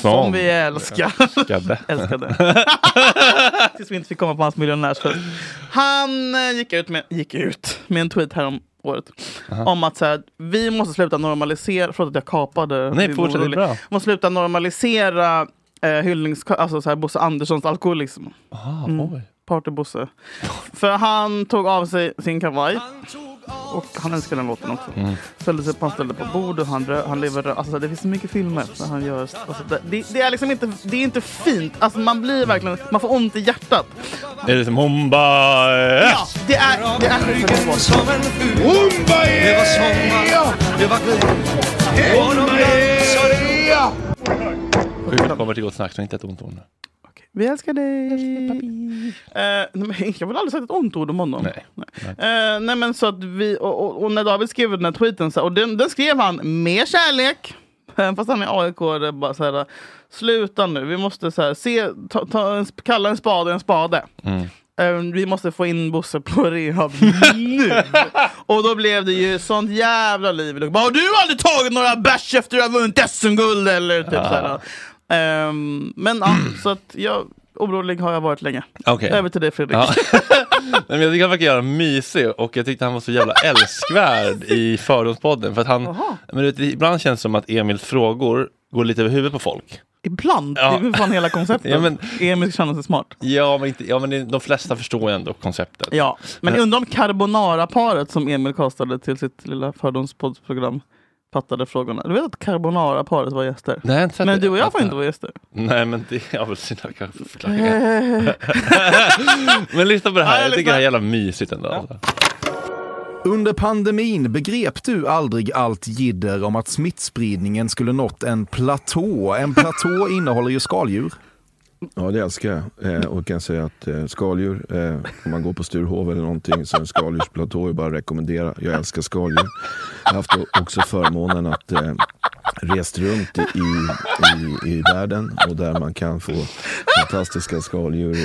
Speaker 2: som, vi älskar.
Speaker 3: Älskade.
Speaker 2: älskade. Tills vi inte fick komma på hans miljonärsfest. Han eh, gick ut med, gick ut med en tweet här om året. Om att så här, vi måste sluta normalisera, förlåt att jag kapade.
Speaker 3: Nej,
Speaker 2: Vi
Speaker 3: fortsätt, det är
Speaker 2: borde-
Speaker 3: bra.
Speaker 2: måste sluta normalisera eh, hyllnings, alltså så här, Bosse Anderssons alkoholism.
Speaker 3: Aha,
Speaker 2: Mm.
Speaker 3: oj.
Speaker 2: Party-Bosse. För han tog av sig sin kavaj. Och han älskar den låten också.
Speaker 3: Mm.
Speaker 2: Ställde sig på, han ställde på bordet, han, rö, han lever rö- Alltså det finns så mycket filmer när han gör... Alltså, det, det, det är liksom inte, det är inte fint. Alltså man blir verkligen... Man får ont i hjärtat.
Speaker 3: Är liksom det som hon bara... eh,
Speaker 2: Ja, det är... Det är
Speaker 4: Som en ful. Det var sommar, det var guld. Och de dansade.
Speaker 3: Sjukt kommer till gott snack, så inte ett ont ord nu.
Speaker 2: Vi älskar dig! Eh, nej, men jag har väl aldrig sagt ett ont ord om honom. Nej. Nej. Eh, nej men så att vi, och, och, och när David skrev den här tweeten, så, här- och den, den skrev han med kärlek. Eh, Fast han är AIK, det är bara så här, sluta nu, vi måste så här, se, ta, ta en, sp- kalla en spade en spade. Eh, Vi måste få in Bosse på rehab nu! Och då blev det ju sånt jävla liv i Luleå. Bara, Har du aldrig tagit några bärs efter att du har vunnit SM-guld? Eller typ
Speaker 3: Ja.
Speaker 2: så här. Ehm, men ja, så att jag, orolig har jag varit länge.
Speaker 3: Mm. Okej.
Speaker 2: Över till dig Fredrik.
Speaker 3: Ja. Nej, men jag tycker han verkar göra mysig och jag tyckte han var så jävla älskvärd i Fördomspodden. För att han, men du vet, ibland känns det som att Emils frågor går lite över huvudet på folk.
Speaker 2: Ibland,
Speaker 3: Ja.
Speaker 2: det är väl fan hela konceptet.
Speaker 3: Ja, men-
Speaker 2: Emil känner sig smart.
Speaker 3: Ja, men, inte, ja, men det- de flesta förstår ju ändå konceptet.
Speaker 2: Ja, men
Speaker 3: Men-
Speaker 2: undrar om carbonara-paret som Emil kastade till sitt lilla fördomspoddsprogram fattade frågorna. Du vet att carbonara-paret var gäster?
Speaker 3: Nej, jag har inte sett det.
Speaker 2: men du och jag får inte vara gäster.
Speaker 3: Nej, men det har väl sina kanske förklaringar. men lyssna på det här, jag tycker det här är jävla mysigt ändå. alltså.
Speaker 21: Under pandemin begrep du aldrig allt jidder om att smittspridningen skulle nått en platå. En platå innehåller ju skaldjur.
Speaker 7: Ja, det älskar jag. Eh, och kan säga att eh, skaldjur, eh, om man går på Sturehov eller någonting så är en skaldjursplatå är bara att rekommendera. Jag älskar skaldjur. Jag har haft o- också förmånen att eh, rest runt i, i, i världen och där man kan få fantastiska skaldjur i,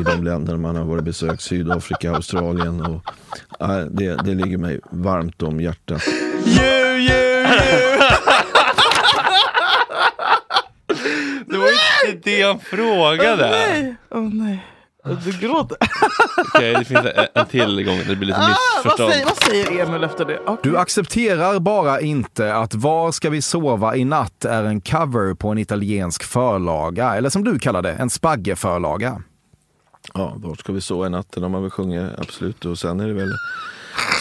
Speaker 7: i de länder man har varit besökt. Sydafrika, Australien och eh, det, det ligger mig varmt om hjärtat.
Speaker 4: Ju, ju, ju!
Speaker 3: Det var ju inte det han frågade.
Speaker 2: Åh nej! Åh nej. Du gråter.
Speaker 3: Okej, det finns en, en till gång. Det blir lite
Speaker 2: Ah, vad,
Speaker 3: missförstånd.
Speaker 2: säger, vad säger Emil efter det? Ja,
Speaker 21: Du accepterar bara inte att Var ska vi sova i natt är en cover på en italiensk förlaga, eller som du kallar det, en spaggeförlaga.
Speaker 7: Ja, var ska vi sova i natten om man vill sjunga, absolut. Och sen är det väl,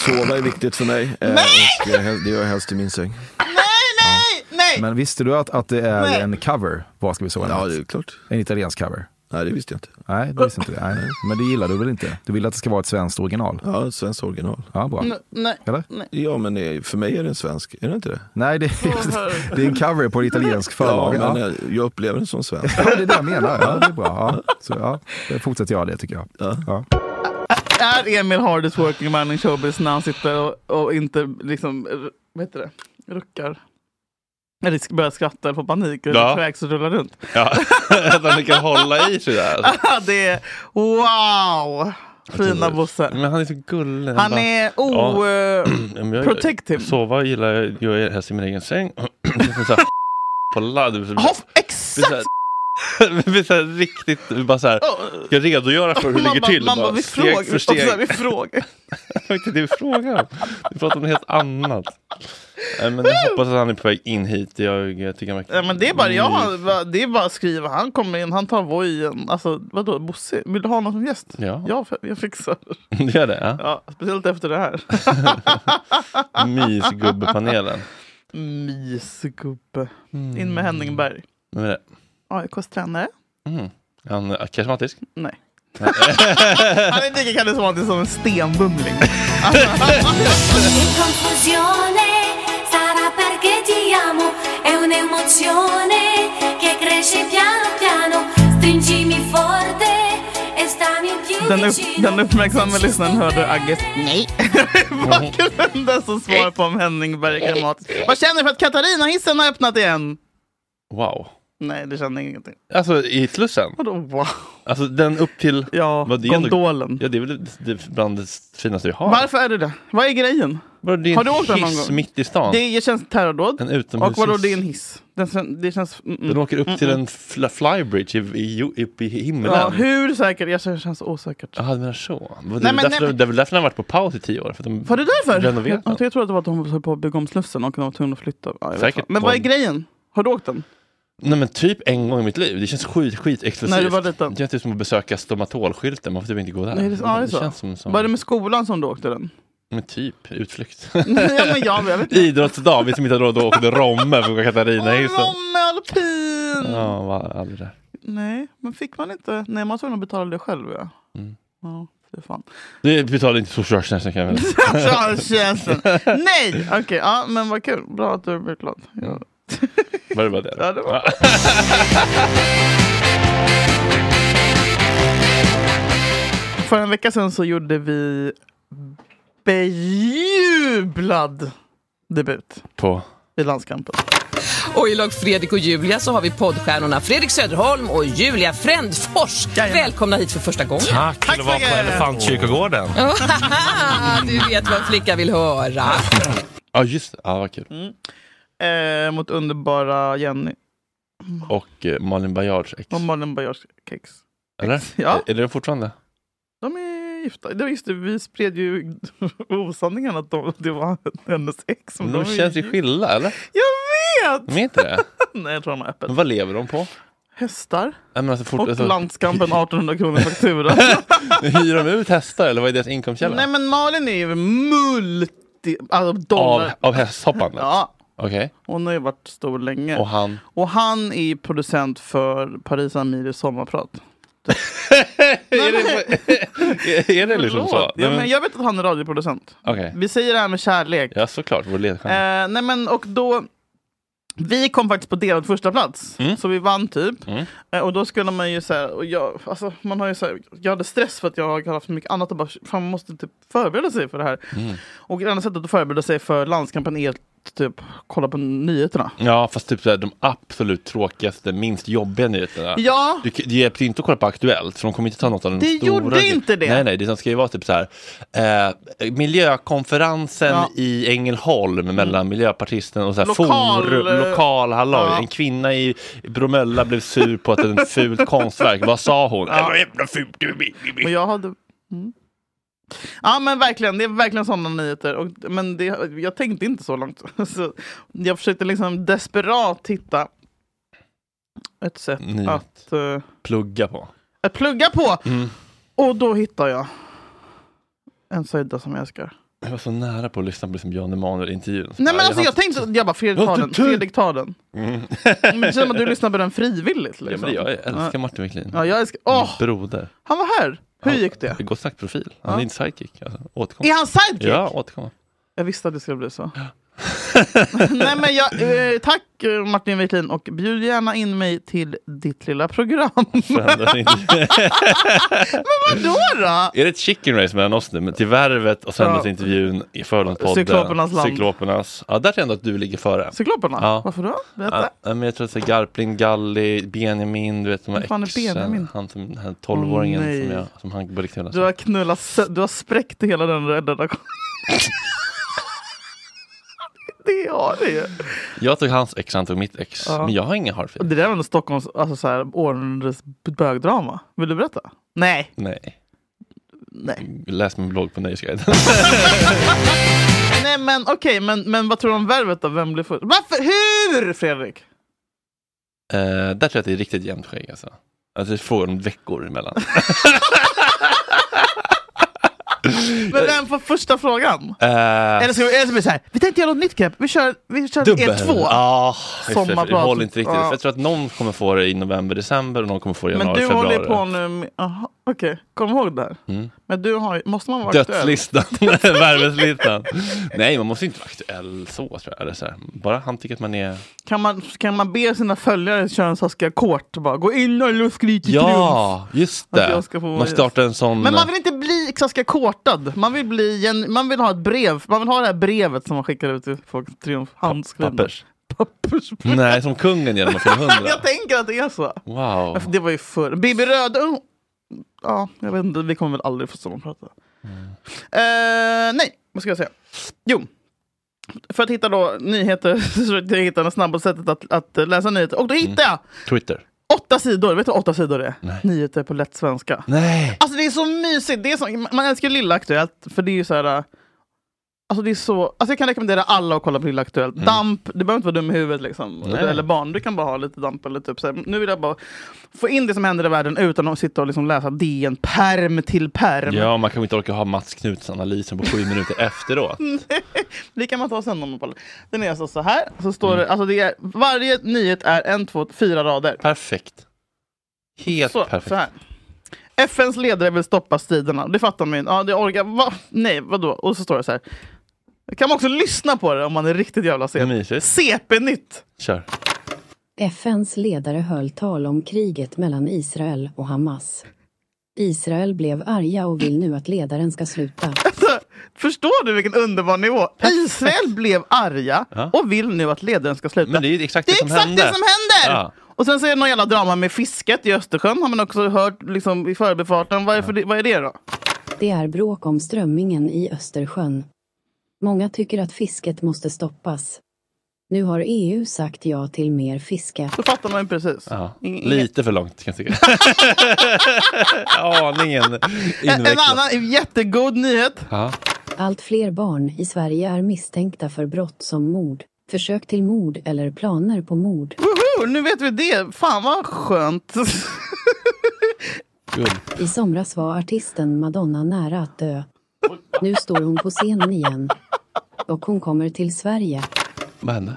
Speaker 7: sova är viktigt för mig. Eh, och jag, hel- det gör jag helst i min säng.
Speaker 2: Nej, nej!
Speaker 21: Men visste du att, att det är
Speaker 2: Nej.
Speaker 21: en cover, Var ska vi sova i natt? Ja, det är klart. En italiensk cover.
Speaker 7: Nej, det visste jag inte.
Speaker 21: Nej, det visste inte du. Nej. Men det gillar du väl inte? Du vill att det ska vara ett svenskt original?
Speaker 7: Ja, ett svenskt original.
Speaker 21: Ja, bra.
Speaker 2: N- nej.
Speaker 21: Eller?
Speaker 2: Nej.
Speaker 7: Ja, men det, är- för mig är det en svensk, är det inte det?
Speaker 21: Nej, det
Speaker 7: är,
Speaker 21: det är en cover på en italiensk förlaga.
Speaker 7: Ja, men eh, jag upplever den som svensk.
Speaker 21: Ja, det är det jag menar. Ja, det är bra. Ja. Så, ja. då Fortsätter jag det tycker jag. Ja.
Speaker 2: Är Emil hardest working man in showbiz när han sitter och, och inte liksom, r- vad heter det, ruckar? Eller sk- börjar skratta eller får panik och
Speaker 3: Ja.
Speaker 2: kräks och rullar runt.
Speaker 3: Ja, att han kan hålla i sådär.
Speaker 2: det är wow! Ah, Fina Bosse.
Speaker 3: Men han är så gullig.
Speaker 2: Han är o...
Speaker 3: men jag-
Speaker 2: protective.
Speaker 3: Sova gillar jag, jag är helst i min egen säng. Det är så här på ladd. Det blir så-
Speaker 2: Exakt!
Speaker 3: Det blir så här riktigt, bara så här, ska jag redogöra för hur det
Speaker 2: Man
Speaker 3: ligger
Speaker 2: bara-
Speaker 3: till.
Speaker 2: man bara,
Speaker 3: bara
Speaker 2: vi
Speaker 3: steg
Speaker 2: frågar-
Speaker 3: för steg.
Speaker 2: och så här, vi frågar.
Speaker 3: Det var inte det vi frågade om. Vi pratade om något helt annat. Nej, Men jag hoppas att han är på väg in hit. Jag eh, tycker han verkar
Speaker 2: Ja, men det är bara
Speaker 3: Mm.
Speaker 2: jag, har- det är bara att skriva. Han kommer in, han tar vojen. Alltså vadå Bosse, vill du ha någon som gäst?
Speaker 3: Ja.
Speaker 2: Jag, jag fixar.
Speaker 3: Du gör det? Ja.
Speaker 2: Ja, speciellt efter det här.
Speaker 3: Mysgubbepanelen.
Speaker 2: Mysgubbe.
Speaker 3: Mm.
Speaker 2: In med Henningberg.
Speaker 3: Vem är det?
Speaker 2: AIKs tränare.
Speaker 3: Mm. Han är karismatisk?
Speaker 2: Nej.
Speaker 3: Nej.
Speaker 2: Han är lika karismatisk som en stenbumling.
Speaker 4: Che confusione sarà perché ti amo, è un'emozione che cresce piano piano, stringimi forte e stammi un più
Speaker 2: Den, upp,
Speaker 4: vicino.
Speaker 2: den uppmärksamma lyssnaren hörde Agges nej. Bakgrunden som svar på om Henningberg är karismatisk. Vad känner du för att Katarina-hissen har öppnat igen?
Speaker 3: Wow.
Speaker 2: Nej, det känner jag ingenting.
Speaker 3: Alltså i Slussen?
Speaker 2: Vadå wow?
Speaker 3: Alltså den upp till...
Speaker 2: Ja, gondolen.
Speaker 3: ja, det är väl det- det är bland det finaste vi har.
Speaker 2: Varför är det det? Vad är grejen?
Speaker 3: det är en
Speaker 2: har du åkt den någon
Speaker 3: hiss
Speaker 2: gång?
Speaker 3: mitt i stan.
Speaker 2: Det känns terrordåd.
Speaker 3: En
Speaker 2: och
Speaker 3: utomhushiss.
Speaker 2: vadå, det är en hiss? Den, kän- det känns... mm, mm.
Speaker 3: Den åker upp till
Speaker 2: Mm,
Speaker 3: en fl- flybridge i, i, i, uppe i himlen.
Speaker 2: Ja, hur säker? Jag känner det känns osäkert.
Speaker 3: Jaha, du menar så. Det är
Speaker 2: Nej,
Speaker 3: väl
Speaker 2: men-
Speaker 3: därför,
Speaker 2: nej, men-
Speaker 3: det är väl därför den har varit på paus i tio år. För att de
Speaker 2: Var det därför?
Speaker 3: Renoverat
Speaker 2: Jag,
Speaker 3: den.
Speaker 2: jag tror att det var att de höll på att bygga om Slussen och de var tvungna att flytta. Ja, jag vet
Speaker 3: Säkert.
Speaker 2: inte. Men vad är
Speaker 3: Om-
Speaker 2: grejen? Har du åkt den?
Speaker 3: Nej men typ en gång i mitt liv. Det känns skit, skit exklusivt.
Speaker 2: När du var
Speaker 3: liten. Det känns typ som att besöka stomatolskylten. Man får typ inte gå där.
Speaker 2: Nej, det, ja, det, är
Speaker 3: det
Speaker 2: så.
Speaker 3: känns som, som
Speaker 2: Var det med skolan som du åkte den?
Speaker 3: men typ utflykt.
Speaker 2: ja, men jag vet inte.
Speaker 3: Idrottsdag. Vi som inte har råd att åka till Romme för att gå Katarina.
Speaker 2: Romme alpin!
Speaker 3: Ja, var aldrig där.
Speaker 2: Nej, men fick man inte? Nej, man var tvungen att betala det själv. Ja,
Speaker 3: Mm.
Speaker 2: ja fy fan.
Speaker 3: Det betalade inte socialtjänsten kan jag väl
Speaker 2: Socialtjänsten! Nej! Okej, ja, men vad kul. Bra att du blev glad. Ja.
Speaker 3: Var det bara det?
Speaker 2: Ja, det var det. För en vecka sedan så gjorde vi bejublad debut
Speaker 3: På?
Speaker 2: i landskampen.
Speaker 8: Och i lag Fredrik och Julia så har vi poddstjärnorna Fredrik Söderholm och Julia Frändfors. Välkomna hit för första gången.
Speaker 3: Tack,
Speaker 8: Tack
Speaker 3: till att vara på Elefantkyrkogården.
Speaker 8: du vet vad en flicka vill höra.
Speaker 3: Ja, just det. Ja, vad kul.
Speaker 2: Eh, mot underbara Jenny
Speaker 3: Och eh, Malin Baryards ex.
Speaker 2: och Malin Baryards kex.
Speaker 3: Eller?
Speaker 2: Ja.
Speaker 3: Är är det de fortfarande? Eh,
Speaker 2: De är gifta. Det var just det, vi spred ju osanningen att de, det var hennes ex.
Speaker 3: Men
Speaker 2: är
Speaker 3: de känns ju
Speaker 2: gift.
Speaker 3: skilda, eller?
Speaker 2: Jag vet!
Speaker 3: De är inte det?
Speaker 2: Nej, jag tror de är öppet.
Speaker 3: Men vad lever de på?
Speaker 2: Hästar.
Speaker 3: Nej, men alltså, fort,
Speaker 2: Och
Speaker 3: alltså,
Speaker 2: landskampen 1800 kronor faktura.
Speaker 3: Hyr de ut hästar eller vad är deras inkomstkälla?
Speaker 2: Nej men Malin är ju multi... Alltså dollar.
Speaker 3: Av, av hästhoppandet?
Speaker 2: Ja.
Speaker 3: Okej.
Speaker 2: Hon har ju varit stor länge.
Speaker 3: Och han?
Speaker 2: Och han är ju producent för Paris Amiris sommarprat.
Speaker 3: är, det, är, är det liksom så?
Speaker 2: Förlåt. Ja,
Speaker 3: Nej,
Speaker 2: men jag vet att han är radioproducent.
Speaker 3: Okej.
Speaker 2: Vi säger det här med kärlek.
Speaker 3: Ja, såklart. Vår ledstjärna.
Speaker 2: Eh, nej men och då Vi kom faktiskt på delad första plats så vi vann typ. Eh, Och då skulle man ju så här, och jag, alltså, man har ju så här, jag hade stress för att jag har haft så mycket annat och bara, fan man måste typ förbereda sig för det här. Och det enda sättet att förbereda sig för landskampen är att typ kolla på nyheterna.
Speaker 3: Ja, fast typ så här, de absolut tråkigaste, minst jobbiga nyheterna.
Speaker 2: Ja.
Speaker 3: Du, det hjälpte ju inte att kolla på Aktuellt, för de kommer inte ta något av de
Speaker 2: Det
Speaker 3: stora.
Speaker 2: gjorde
Speaker 3: gre-
Speaker 2: inte det.
Speaker 3: Nej, nej, det som ska ju vara typ så här. Eh, miljökonferensen
Speaker 2: Ja.
Speaker 3: i Ängelholm mellan Miljöpartisten och så här,
Speaker 2: Lokal-
Speaker 3: forum, lokal halloj.
Speaker 2: Ja.
Speaker 3: En kvinna i Bromölla blev sur på att en fult konstverk. Vad sa hon?
Speaker 2: Ja.
Speaker 3: "Det var jävla fult. du, bi, bi, bi."
Speaker 2: Och jag hade... Mm. Ja men verkligen, det är verkligen sådana nyheter. Och, men det, jag tänkte inte så långt. Så jag försökte liksom desperat hitta ett sätt
Speaker 3: Nyhet.
Speaker 2: att, eh,
Speaker 3: Plugga på.
Speaker 2: att plugga på.
Speaker 3: Mm.
Speaker 2: Och då hittar jag en sida som jag älskar.
Speaker 3: Jag var så nära på att lyssna på liksom Jan Emanuel-intervjun.
Speaker 2: Nej men
Speaker 3: Jag
Speaker 2: alltså
Speaker 3: har-
Speaker 2: jag tänkte, jag bara Fredrik
Speaker 3: Jag har
Speaker 2: tar den,
Speaker 3: inte tid.
Speaker 2: Fredrik tar den.
Speaker 3: Mm.
Speaker 2: Men det känns som att du lyssnar på den frivilligt.
Speaker 3: Ja, men
Speaker 2: Liksom.
Speaker 3: det gör jag. Jag älskar Mm. Martin Wiklin.
Speaker 2: Ja, jag älskar, åh,
Speaker 3: Broder.
Speaker 2: han var här! Hur gick det?
Speaker 3: Gott sagt profil. Han
Speaker 2: Ja.
Speaker 3: är inte sidekick. Alltså, återkomma.
Speaker 2: Är han sidekick?
Speaker 3: Ja, återkomma.
Speaker 2: Jag visste att det skulle bli så. Nej, men jag, eh, tack eh, Martin Wiklin och bjud gärna in mig till ditt lilla program.
Speaker 3: Förändrar inte.
Speaker 2: Vadå då?
Speaker 3: är det ett chicken race mellan oss nu? Men till Värvet och Söndagsintervjun i Fördomspodden.
Speaker 2: Cyklopernas land.
Speaker 3: Cyklopernas. Ja, där tror jag ändå att du ligger före.
Speaker 2: Cykloperna?
Speaker 3: Ja.
Speaker 2: Varför då? Berätta.
Speaker 3: Ja, men jag tror att så här Garplind, Galli, Benjamin, du vet de här
Speaker 2: Vem fan är
Speaker 3: exen.
Speaker 2: Benjamin?
Speaker 3: Han som, den här tolvåringen
Speaker 2: Åh, nej.
Speaker 3: som, jag, som han började knulla.
Speaker 2: Du har knullat, sö- du har spräckt hela den redaktionen. det har du ju.
Speaker 3: Jag tog hans ex, han tog mitt ex.
Speaker 2: Ja.
Speaker 3: Men jag har inga hard
Speaker 2: Och
Speaker 3: feelings.
Speaker 2: Det där var ändå Stockholms alltså, så här, århundradets bögdrama. Vill du berätta? Nej.
Speaker 3: Nej.
Speaker 2: Nej.
Speaker 3: Läs min blogg på Eh, Nöjesguiden.
Speaker 2: Nej men okej, men, men vad tror du om Värvet då? Vem blir först? Varför? Hur Fredrik?
Speaker 3: Eh, där tror jag att det är riktigt jämnt skägg alltså. Alltså det är frågan om veckor emellan.
Speaker 2: Men vem får första frågan?
Speaker 3: Eh,
Speaker 2: Eller så, eller så blir det så här, vi tänkte göra något nytt grepp, vi kör, vi kör
Speaker 3: dubbel.
Speaker 2: E2.
Speaker 3: Ja, just det, för
Speaker 2: Ah, Sommarprat.
Speaker 3: det håller inte riktigt.
Speaker 2: Ja.
Speaker 3: För jag tror att någon kommer få det i november, december och någon kommer få det i
Speaker 2: Men
Speaker 3: januari,
Speaker 2: du håller
Speaker 3: februari.
Speaker 2: ju på nu med, aha, okej, kom ihåg det här.
Speaker 3: Mm.
Speaker 2: Men du har ju- måste man vara
Speaker 3: Dödslistan, värveslistan. Nej, man måste inte vara aktuell så tror jag. Eller så här. Bara han tycker att man är...
Speaker 2: Kan man, kan man be sina följare köra en Saskia Kort och bara gå in och skrik i triumf?
Speaker 3: Ja, just
Speaker 2: Att
Speaker 3: det.
Speaker 2: jag ska få vara
Speaker 3: Man startar en sån...
Speaker 2: Men man vill inte bli Saskia Kortad, man vill, bli, gen- man vill ha ett brev, man vill ha det här brevet som man skickar ut till folk, triumf, handskrivet.
Speaker 3: Pappers. Nej, som kungen genom att fylla hundra.
Speaker 2: Jag tänker att det är så.
Speaker 3: Wow.
Speaker 2: Det var ju förr. Bibi Rödung. Ja, jag vet inte. Vi kommer väl aldrig få sommarprata. Mm. nej, vad ska jag säga? Jo. För att hitta då nyheter så försökte jag hitta det snabbaste sättet att, att läsa nyheter. Och då hittade jag
Speaker 3: Twitter.
Speaker 2: åtta sidor. Vet du vad åtta sidor är? Nyheter på lätt svenska.
Speaker 3: Nej.
Speaker 2: Alltså det är så mysigt. Det är så, man älskar Lilla Aktuellt för det är ju så här... äh, Alltså det är så, alltså jag kan rekommendera alla att kolla på Lilla Aktuellt. Damp, du behöver inte vara dum i huvudet liksom.
Speaker 3: Mm. Nej.
Speaker 2: Eller barn, du kan bara ha lite damp eller typ så här. Nu vill jag bara få in det som händer i världen utan att sitta och liksom läsa DN perm till perm.
Speaker 3: Ja, man kanske inte orkar ha Mats Knuts analysen på sju minuter efteråt.
Speaker 2: Det kan man ta sen om man pallar. Den är alltså så här, så står
Speaker 3: Mm.
Speaker 2: det, alltså det är, varje nyhet är en, två, fyra rader.
Speaker 3: Perfekt. Helt
Speaker 2: så,
Speaker 3: perfekt.
Speaker 2: Så här. FNs ledare vill stoppa striderna. Det fattar man ju. Ja, det orkar. Va? Nej, vadå? Och så står det så här. Kan man också lyssna på det om man är riktigt jävla sen. CP-nytt!
Speaker 3: Kör.
Speaker 6: FNs ledare höll tal om kriget mellan Israel och Hamas. Israel blev arga och vill nu att ledaren ska sluta.
Speaker 2: Förstår du vilken underbar nivå? Israel blev arga och vill nu att ledaren ska sluta. Men
Speaker 3: det är exakt
Speaker 2: det,
Speaker 3: som hände.
Speaker 2: som händer!
Speaker 3: Ja.
Speaker 2: Och sen så är det någon jävla drama med fisket i Östersjön har man också hört liksom, i förbifarten. Vad är, för det, vad är det då?
Speaker 6: Det är bråk om strömmingen i Östersjön. Många tycker att fisket måste stoppas. Nu har EU sagt ja till mer fiske.
Speaker 2: Då fattar man ju precis.
Speaker 3: Ja.
Speaker 2: Inget-
Speaker 3: Lite för långt kan jag tycka. Aningen
Speaker 2: En, en
Speaker 3: invecklat.
Speaker 2: annan jättegod nyhet.
Speaker 3: Ja.
Speaker 6: Allt fler barn i Sverige är misstänkta för brott som mord, försök till mord eller planer på mord.
Speaker 2: Woho, nu vet vi det. Fan vad skönt.
Speaker 6: I somras var artisten Madonna nära att dö. Nu står hon på scenen igen. Och hon kommer till Sverige.
Speaker 3: Vad hände?